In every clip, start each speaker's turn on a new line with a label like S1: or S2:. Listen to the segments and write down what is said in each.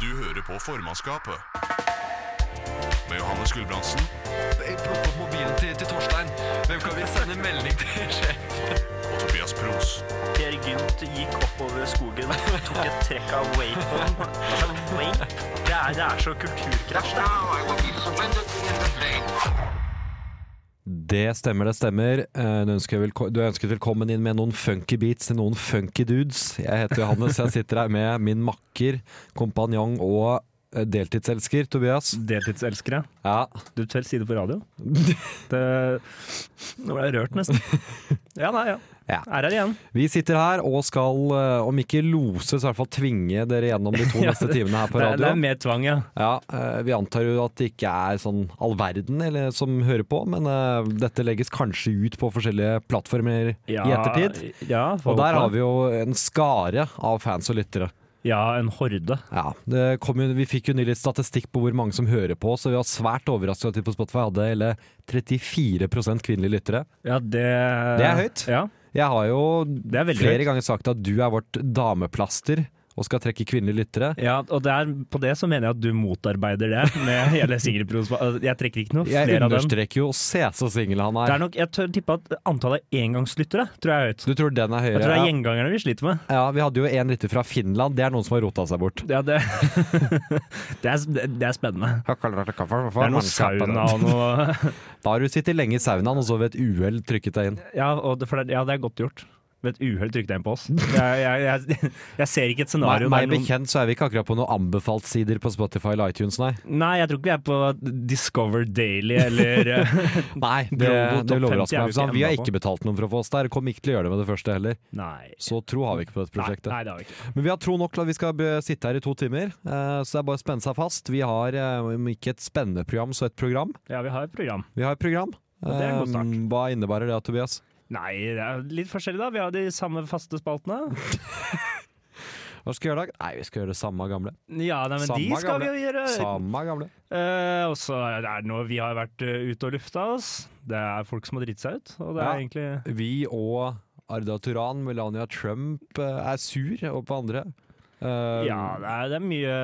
S1: Du hører på formannskapet. Med Johannes Gulbrandsen
S2: Plukk opp mobilen til, til Torstein. Hvem kan vi sende melding til? sjef?
S1: og Tobias Pros.
S3: Per Gynt gikk oppover skogen, tok et trekk av wapen. Altså, vape? Det er, det er så kulturkrasj. Det er
S4: Det stemmer, det stemmer. Eh, Du, ønsker velko- du er ønsket velkommen inn med noen funky beats til noen funky dudes. Jeg heter Johannes, jeg sitter her med min makker, kompanjong og eh, deltidselsker Tobias.
S5: Deltidselskere.
S4: Ja,
S5: Du tør si det på radio. Det, nå ble jeg rørt, nesten. Ja, nei, ja.
S4: Ja.
S5: Er her igjen.
S4: Vi sitter her og skal, eh, om ikke lose, så i hvert fall tvinge dere gjennom de to
S5: Ja,
S4: neste
S5: det-
S4: timene her på
S5: det, er- det er
S4: radioen.
S5: mer tvang, ja.
S4: Ja, eh, Vi antar jo at det ikke er sånn all verden eller, som hører på, men eh, dette legges kanskje ut på forskjellige plattformer
S5: ja.
S4: i ettertid.
S5: Ja,
S4: Og der har vi jo en skare av fans og lyttere.
S5: Ja, en horde.
S4: Ja, det kom jo, Vi fikk jo nylig statistikk på hvor mange som hører på, så vi var svært overrasket over at vi på Spotify hadde hele 34 kvinnelige lyttere.
S5: Ja, det
S4: Det er høyt.
S5: Ja,
S4: Jeg har jo
S5: det er veldig
S4: flere
S5: høyt.
S4: ganger sagt at du er vårt dameplaster og skal trekke kvinnelige lyttere.
S5: Ja, og det er, på det så mener jeg at du motarbeider det med hele singelpros. Jeg trekker ikke noe
S4: Jeg
S5: flere av dem.
S4: understreker jo se så singel han
S5: Det er
S4: er.
S5: nok, jeg tør tippe at antallet engangslyttere tror jeg er høyt.
S4: Du tror den er
S5: Jeg tror
S4: høyere?
S5: det er
S4: Ja.
S5: gjengangerne vi sliter med.
S4: Ja, Vi hadde jo en lytter fra Finland. Det er noen som har rota seg bort.
S5: Ja, det, det, er, det er spennende. Det er noe sauna og noe
S4: Da har du sittet lenge i saunaen og så ved et uhell trykket deg inn.
S5: Ja, og det, for det, ja, det er godt gjort. Ved et uhell trykket jeg inn på oss. Jeg, jeg, jeg, jeg ser ikke et
S4: Meg,
S5: scenario
S4: meg
S5: der noen
S4: bekjent så er vi ikke akkurat på noen anbefalt-sider på Spotify eller iTunes, nei.
S5: Nei, jeg tror ikke vi er på Discover Daily eller eh,
S4: Nei, det,
S5: Global
S4: det
S5: Top
S4: vil
S5: 50
S4: overraske
S5: er vi
S4: meg.
S5: ikke
S4: Så vi har
S5: enda på.
S4: ikke betalt noen for å få oss der. Kommer ikke til å gjøre det med det første heller.
S5: Nei.
S4: Så tro har vi ikke på dette prosjektet.
S5: Nei, nei, det har vi ikke.
S4: Men vi har tro nok til at vi skal be- sitte her i to timer, eh, så det er bare å spenne seg fast. Vi har eh, om ikke et spennende program, så et program.
S5: Ja, vi har et program.
S4: Vi har et program.
S5: Ja, det er en god
S4: Eh,
S5: start.
S4: Hva innebærer det, Tobias?
S5: Nei, det er litt forskjellig, da. Vi har de samme faste spaltene.
S4: Hva skal vi gjøre i dag? Nei, vi skal gjøre det samme gamle.
S5: Ja, nei, men
S4: Samme
S5: de skal
S4: gamle.
S5: vi jo gjøre.
S4: Samme gamle.
S5: Eh, og så er det noe vi har vært eh, ute og lufta oss. Det er folk som har dritt seg ut, og det er
S4: Ja.
S5: egentlig
S4: Vi og Arda Turan, Melania Trump eh, er sur og på andre. Eh,
S5: Ja, det er, det er mye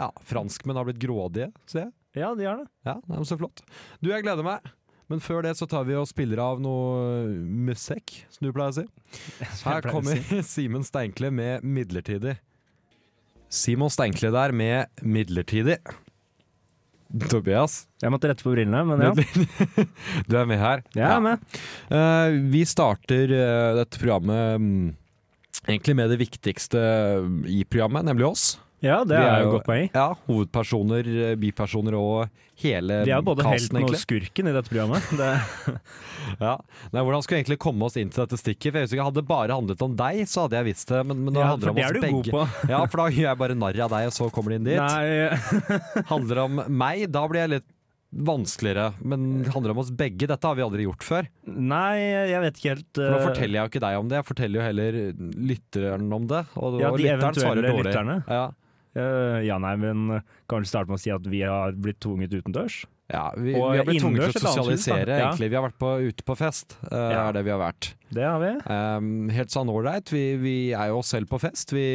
S4: ja, franskmenn har blitt grådige, ser jeg.
S5: Ja, de har det.
S4: Ja, det er jo så flott. Du, jeg gleder meg. Men før det så tar vi og spiller av noe eh, musikk, som du pleier å si. Her
S5: pleier å
S4: kommer Simen Steinkle med 'Midlertidig'. Simon Steinkle der med 'Midlertidig'. Tobias,
S5: Jeg måtte rette på brillene, men ja.
S4: du er med her.
S5: Jeg er med.
S4: Eh, vi starter eh, dette programmet mm, egentlig med det viktigste eh, i programmet, nemlig oss.
S5: Ja, det
S4: Vi
S5: er
S4: er
S5: jo
S4: jo-
S5: godt poeng.
S4: Ja, Hovedpersoner, eh, bipersoner og hele
S5: Vi er jo både
S4: casten,
S5: helten og
S4: egentlig.
S5: skurken i dette programmet. Det,
S4: Ja. Nei, hvordan skulle vi egentlig komme oss inn til dette stikket? For jeg husker, Hadde det bare handlet om deg, så hadde jeg visst det. Men, men nå
S5: ja,
S4: handler det
S5: for
S4: om
S5: det
S4: oss
S5: er du god
S4: begge.
S5: på.
S4: Ja, for da gjør jeg bare narr av deg, og så kommer de inn dit.
S5: Nei,
S4: Handler det om meg, da blir jeg litt vanskeligere. Men handler det om oss begge? Dette har vi aldri gjort før.
S5: nei, jeg vet ikke helt
S4: For nå
S5: eh,
S4: forteller jeg jo ikke deg om det, jeg forteller jo heller lytteren om det. Og,
S5: Ja,
S4: og
S5: de
S4: lytteren svarer
S5: eventuelle
S4: dårlig.
S5: lytterne.
S4: Ja.
S5: eh, Ja, nei, men kan du starte med å si at vi har blitt tvunget utendørs?
S4: Ja, vi, vi
S5: Og
S4: har blitt tvunget
S5: innendørs
S4: til å
S5: et annet hus, da.
S4: sosialisere,
S5: Ja.
S4: egentlig. Vi har vært på, ute på fest, eh,
S5: Ja.
S4: er det vi har vært.
S5: Det har vi.
S4: Um, helt sånn ålreit. Vi, vi er jo oss selv på fest. Vi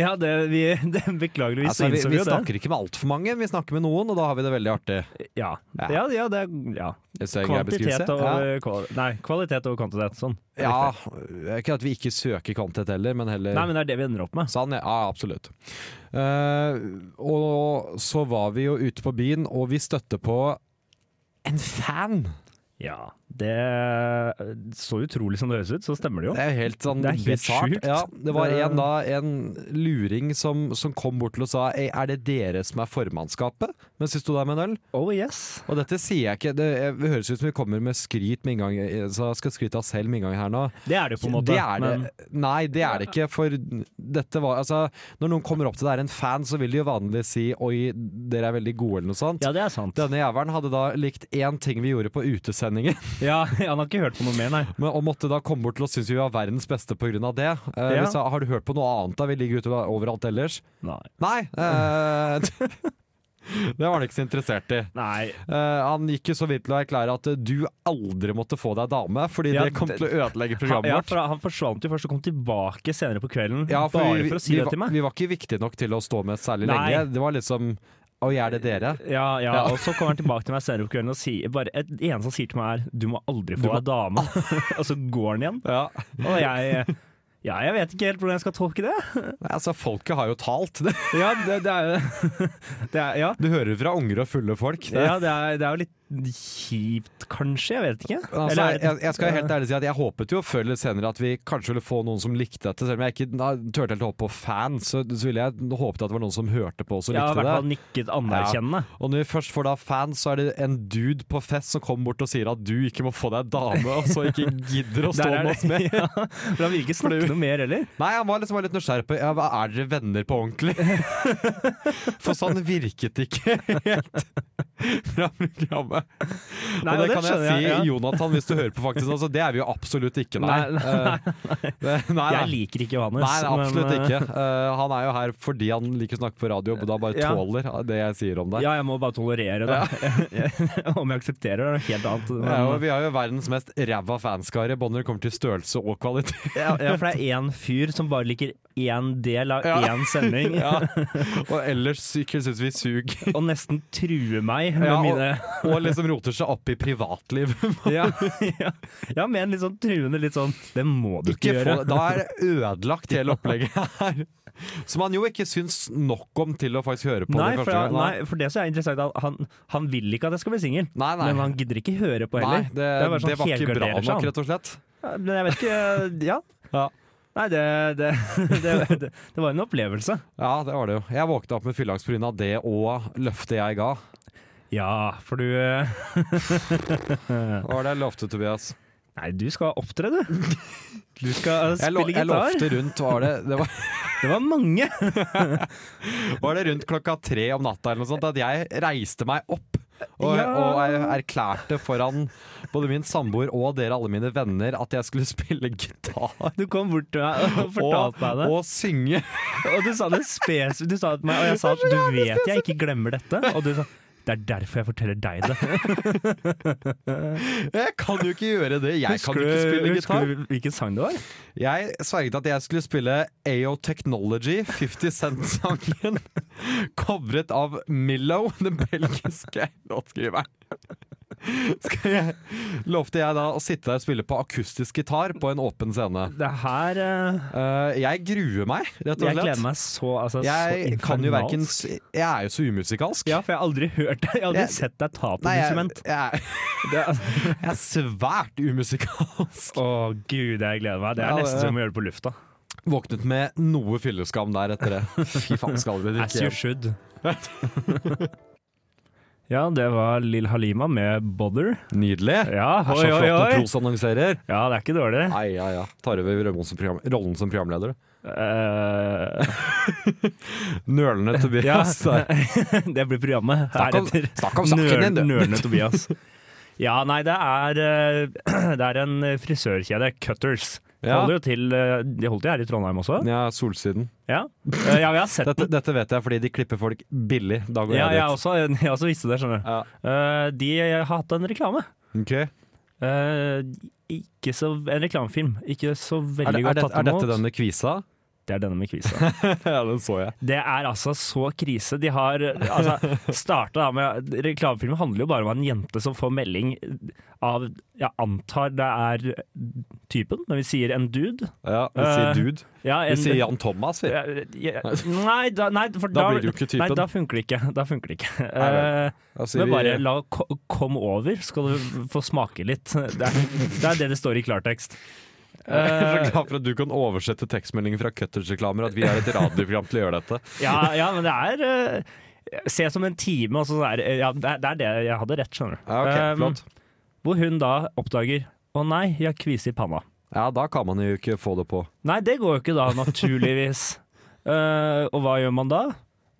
S5: Ja, det, vi det, Beklageligvis
S4: Altså, vi,
S5: innså
S4: vi
S5: jo det.
S4: snakker ikke med altfor mange, vi snakker med noen, og da har vi det veldig artig.
S5: Ja.
S4: Ja.
S5: Ja, ja, det er ja.
S4: Hvis det er en grei
S5: Kvantitet
S4: beskrivelse.
S5: over kvali Nei, kvalitet over kvantitet. Sånn.
S4: ja. ja, Ikke at vi ikke søker kvantitet heller, men heller
S5: Nei, men det er det vi ender opp med.
S4: Sånn, ja, ja, absolutt. Eh, og så var vi jo ute på byen, og vi støtte på en fan!
S5: Ja. Det Så utrolig som det høres ut, så stemmer det jo.
S4: Det er jo helt sånn
S5: Det er helt
S4: bisart.
S5: sjukt.
S4: Ja, det var
S5: Det-
S4: en, da, en luring som, som kom bort til og sa «Ei, Er det dere som er formannskapet? mens vi sto der med en øl.
S5: Oh yes.
S4: Og dette sier jeg ikke. Det, det høres ut som vi kommer med skryt med inngang, eh, så jeg skal skryte av oss selv med inngang her nå.
S5: Det er det jo på en måte.
S4: Det er det.
S5: men-
S4: Nei, det er det ikke. For dette var Altså, når noen kommer opp til deg er en fan, så vil de jo vanligvis si 'oi, dere er veldig gode', eller noe sånt.
S5: Ja, det er sant.
S4: Denne jævelen hadde da likt én ting vi gjorde på utesendingen,
S5: Ja, han har ikke hørt på noe mer, nei.
S4: men- og måtte da komme bort til å synes vi var verdens beste pga. det. Eh,
S5: Ja.
S4: hvis jeg, har du hørt på noe annet da vi ligger ute overalt ellers?
S5: nei.
S4: Nei! Eh, Det var han ikke så interessert i.
S5: Nei.
S4: Eh, han gikk jo så vidt til å erklære at eh, du aldri måtte få deg dame, fordi
S5: Ja,
S4: det kom
S5: det-
S4: til å ødelegge
S5: Han,
S4: programmet
S5: ja,
S4: vårt.
S5: for han forsvant jo først og kom tilbake senere på kvelden.
S4: Ja, for
S5: bare
S4: vi-
S5: for
S4: vi
S5: å si det
S4: var-
S5: til meg.
S4: Vi var ikke viktige nok til å stå med særlig
S5: Nei.
S4: lenge. Det var liksom Å, jeg er det dere?
S5: Ja, ja,
S4: Ja.
S5: og så kommer han tilbake til meg senere på kvelden og sier bare et det eneste han sier til meg er 'du må aldri
S4: Du
S5: få
S4: må-
S5: deg dame', og så går han igjen.
S4: Ja.
S5: Og jeg ja, jeg vet ikke helt hvordan jeg skal tolke det.
S4: Nei, altså, folket har jo talt. Det-
S5: Ja, det, det er jo det er, ja.
S4: Du hører fra unger og fulle folk. Det.
S5: ja, det er, det er jo litt kjipt, kanskje. Jeg vet ikke.
S4: Altså,
S5: Eller er
S4: jeg,
S5: det-
S4: jeg skal helt ærlig si at jeg håpet jo før eller senere at vi kanskje ville få noen som likte dette. Selv om jeg ikke da turte helt å håpe på fans, så, så ville jeg håpet at det var noen som hørte på oss og
S5: jeg har i
S4: likte
S5: hvert fall
S4: det.
S5: nikket anerkjennende.
S4: Og når vi først får da fans, så er det en dude på fest som kommer bort og sier at du ikke må få deg dame, og så ikke gidder å
S5: Der
S4: stå
S5: er
S4: med
S5: det-
S4: oss mer.
S5: Ja, for han vil ikke snakke noe mer heller.
S4: Nei, han var liksom bare litt nysgjerrig på ja, hva Er dere venner på ordentlig? For sånn virket det ikke helt fra programmet.
S5: Nei,
S4: og det,
S5: og
S4: kan
S5: det
S4: jeg
S5: skjønner
S4: si,
S5: jeg, ja.
S4: Jonathan, hvis du hører på, faktisk. Altså, det er vi jo absolutt ikke, nei.
S5: Nei, nei,
S4: Eh, det- nei,
S5: Jeg
S4: nei.
S5: liker ikke Johannes.
S4: Nei, absolutt
S5: men, eh,
S4: ikke. Eh, han er jo her fordi han liker å snakke på radio, og da bare
S5: Ja.
S4: tåler det jeg sier om deg.
S5: Ja, jeg må bare tolerere det. Om jeg aksepterer det, er noe helt annet. men-
S4: Ja, og vi har jo verdens mest ræva fanskare, både når det kommer til størrelse og kvalitet.
S5: Ja, ja, for det er én fyr som bare liker én del av
S4: Ja.
S5: én sending,
S4: Ja. Og ellers sikkert syns vi suger.
S5: og nesten truer meg med
S4: Ja, og-
S5: mine
S4: Og liksom roter seg opp i privatliv.
S5: ja, ja. ja, med en litt sånn truende litt sånn Det må du ikke,
S4: ikke få,
S5: gjøre.
S4: da er det ødelagt hele opplegget her. Som han jo ikke syns nok om til å faktisk høre på.
S5: Nei,
S4: det
S5: for,
S4: første gangen.
S5: nei, for det som er interessant, er at han, han vil ikke at jeg skal bli singel.
S4: Nei, nei.
S5: Men han gidder ikke høre på
S4: nei
S5: heller.
S4: det, det,
S5: er bare sånn
S4: var ikke bra
S5: helgarderer seg,
S4: nok,
S5: han.
S4: rett og slett.
S5: Ja, Men jeg vet ikke Ja.
S4: Ja.
S5: Nei, det, det, det, det, det var en opplevelse.
S4: Ja, det var det jo. Jeg våkna opp med fylleangst pga. det og løftet jeg ga.
S5: Ja, for du eh,
S4: Hva var det jeg lovte, Tobias?
S5: Nei, du skal opptre, du. Du skal eh,
S4: Jeg, lo,
S5: spille
S4: jeg
S5: gitar.
S4: lovte rundt var det, det var,
S5: Det var mange.
S4: var det rundt klokka tre om natta eller noe sånt at jeg reiste meg opp. Og,
S5: Ja.
S4: og jeg erklærte foran både min samboer og dere alle mine venner at jeg skulle spille gitar.
S5: Du kom bort til meg og
S4: Og,
S5: fortalte meg det.
S4: og synge.
S5: Og du sa det spesifikt. Du sa det til meg, og jeg sa at du vet jeg ikke glemmer dette. Og du sa det er derfor jeg forteller deg det.
S4: Jeg kan jo ikke gjøre det. Jeg kan
S5: du-
S4: ikke spille
S5: husker
S4: gitar.
S5: du hvilken sang det var?
S4: Jeg sverget at jeg skulle spille AO Technology, 50 Cent-sangen, covret av Millo, den belgiske låtskriveren. Skal jeg, lovte jeg da å sitte der og spille på akustisk gitar på en åpen scene.
S5: Det her eh,
S4: Eh, jeg gruer meg, rett og
S5: Jeg gleder
S4: slett.
S5: meg så altså,
S4: Jeg
S5: så
S4: kan jo
S5: infernalsk.
S4: verken s- Jeg er jo så umusikalsk.
S5: Ja, for jeg har aldri hørt deg. Jeg har aldri
S4: Jeg-
S5: sett deg ta på
S4: Nei,
S5: et
S4: jeg,
S5: instrument.
S4: jeg,
S5: Det-
S4: jeg er svært umusikalsk.
S5: Å gud, jeg gleder meg. Det er
S4: Ja,
S5: nesten
S4: det-
S5: som å gjøre det på lufta.
S4: Våknet med noe fylleskam der etter det. Fy faen, skal vi
S5: As
S4: drikke?
S5: you should. Ja, det var Lill Halima med 'Bother'.
S4: Nydelig.
S5: Ja,
S4: Det er
S5: oi,
S4: så
S5: oi,
S4: flott når
S5: oi.
S4: Pros annonserer.
S5: Ja, det er ikke dårlig.
S4: Ai, ai, ai. Tar over rollen som, program, rollen som programleder.
S5: Eh,
S4: Nølende Tobias.
S5: Ja. altså. det blir programmet
S4: Snakk om-
S5: heretter.
S4: snakk om saken din, du.
S5: Nørne Tobias. Ja, nei, det er, eh, det er en frisørkjede, Cutters. De
S4: Ja.
S5: holder jo til eh, De holdt jo her i Trondheim også.
S4: Ja, Solsiden.
S5: Ja, Eh, ja vi har sett
S4: Dette,
S5: den.
S4: dette vet jeg fordi de klipper folk billig. Da går
S5: Ja, altså. jeg,
S4: jeg dit.
S5: også, jeg også visste det, skjønner du.
S4: Ja.
S5: Eh, De har hatt en reklame.
S4: Ok.
S5: Eh, Ikke så, en reklamefilm. Ikke så
S4: Er, det,
S5: veldig
S4: er,
S5: godt
S4: det,
S5: tatt
S4: er dette
S5: imot.
S4: denne kvisa?
S5: Det er denne med kvisa.
S4: ja, den så jeg.
S5: Det er altså så krise. De har altså, starta da med Reklamefilmen handler jo bare om en jente som får melding av Jeg antar det er typen, men vi sier en dude.
S4: Ja, Vi sier
S5: Eh,
S4: dude.
S5: Ja,
S4: Vi
S5: en,
S4: sier Jan Thomas, vi.
S5: Ja, ja, Nei, da, nei, for
S4: Da
S5: da,
S4: blir det jo ikke typen.
S5: Nei, da funker det ikke. Da funker det ikke.
S4: Nei, nei.
S5: Eh,
S4: Da sier
S5: men
S4: vi-
S5: bare la ko- kom over, skal du få smake litt. Det er det er det, det står i klartekst.
S4: Jeg er så glad for at du kan oversette tekstmeldinger fra Cutters-reklamer, at vi er et radioprogram til å gjøre dette.
S5: Ja, ja men det er eh, Se som en time, og så er det- ja, det er det er det jeg hadde rett, skjønner du.
S4: Ja, ok,
S5: Um,
S4: flott.
S5: Hvor hun da oppdager Å nei, jeg har kvise i panna.
S4: Ja, da kan man jo ikke få det på.
S5: Nei, det går jo ikke da, naturligvis. Eh, og hva gjør man da?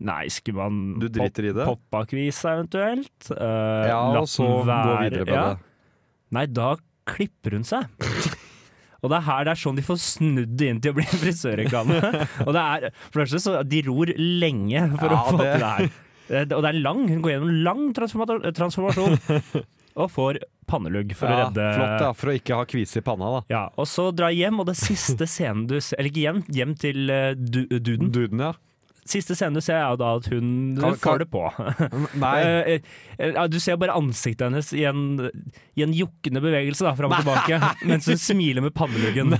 S5: Nei, skulle man
S4: Du driter i det?
S5: pop- poppa kvise eventuelt? Eh,
S4: Ja,
S5: la
S4: og så
S5: den
S4: gå
S5: være,
S4: videre med
S5: ja.
S4: det.
S5: Nei, da klipper hun seg. Og det er her det er sånn de får snudd det inn til å bli frisørreklame. og det er, for det første så de ror lenge
S4: Ja,
S5: for å
S4: det-
S5: få til det her. Eh, Og det er lang, hun går gjennom en lang transformata- transformasjon og får pannelugg for å
S4: Ja,
S5: redde
S4: Flott, da, for å ikke ha kvise i panna, da.
S5: Ja, og så dra hjem, og det siste scenen du ser Eller ikke hjem, hjem til eh, du, duden.
S4: Duden, ja.
S5: Siste scenen du ser, er jo da at hun
S4: Kan- kan-
S5: får det på.
S4: Nei.
S5: Eh, eh, ja, du ser bare ansiktet hennes i en, i en jukkende bevegelse da, fram og tilbake, mens hun smiler med panneluggen.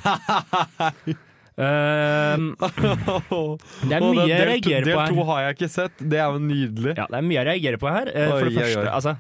S5: Ehm, det er
S4: Og
S5: mye
S4: den
S5: jeg
S4: del to-
S5: reagerer på
S4: Del to
S5: her.
S4: har jeg ikke sett. Det er jo nydelig.
S5: Ja, det er mye jeg reagerer på her. Eh, for det
S4: Oi, oi,
S5: første,
S4: oi.
S5: altså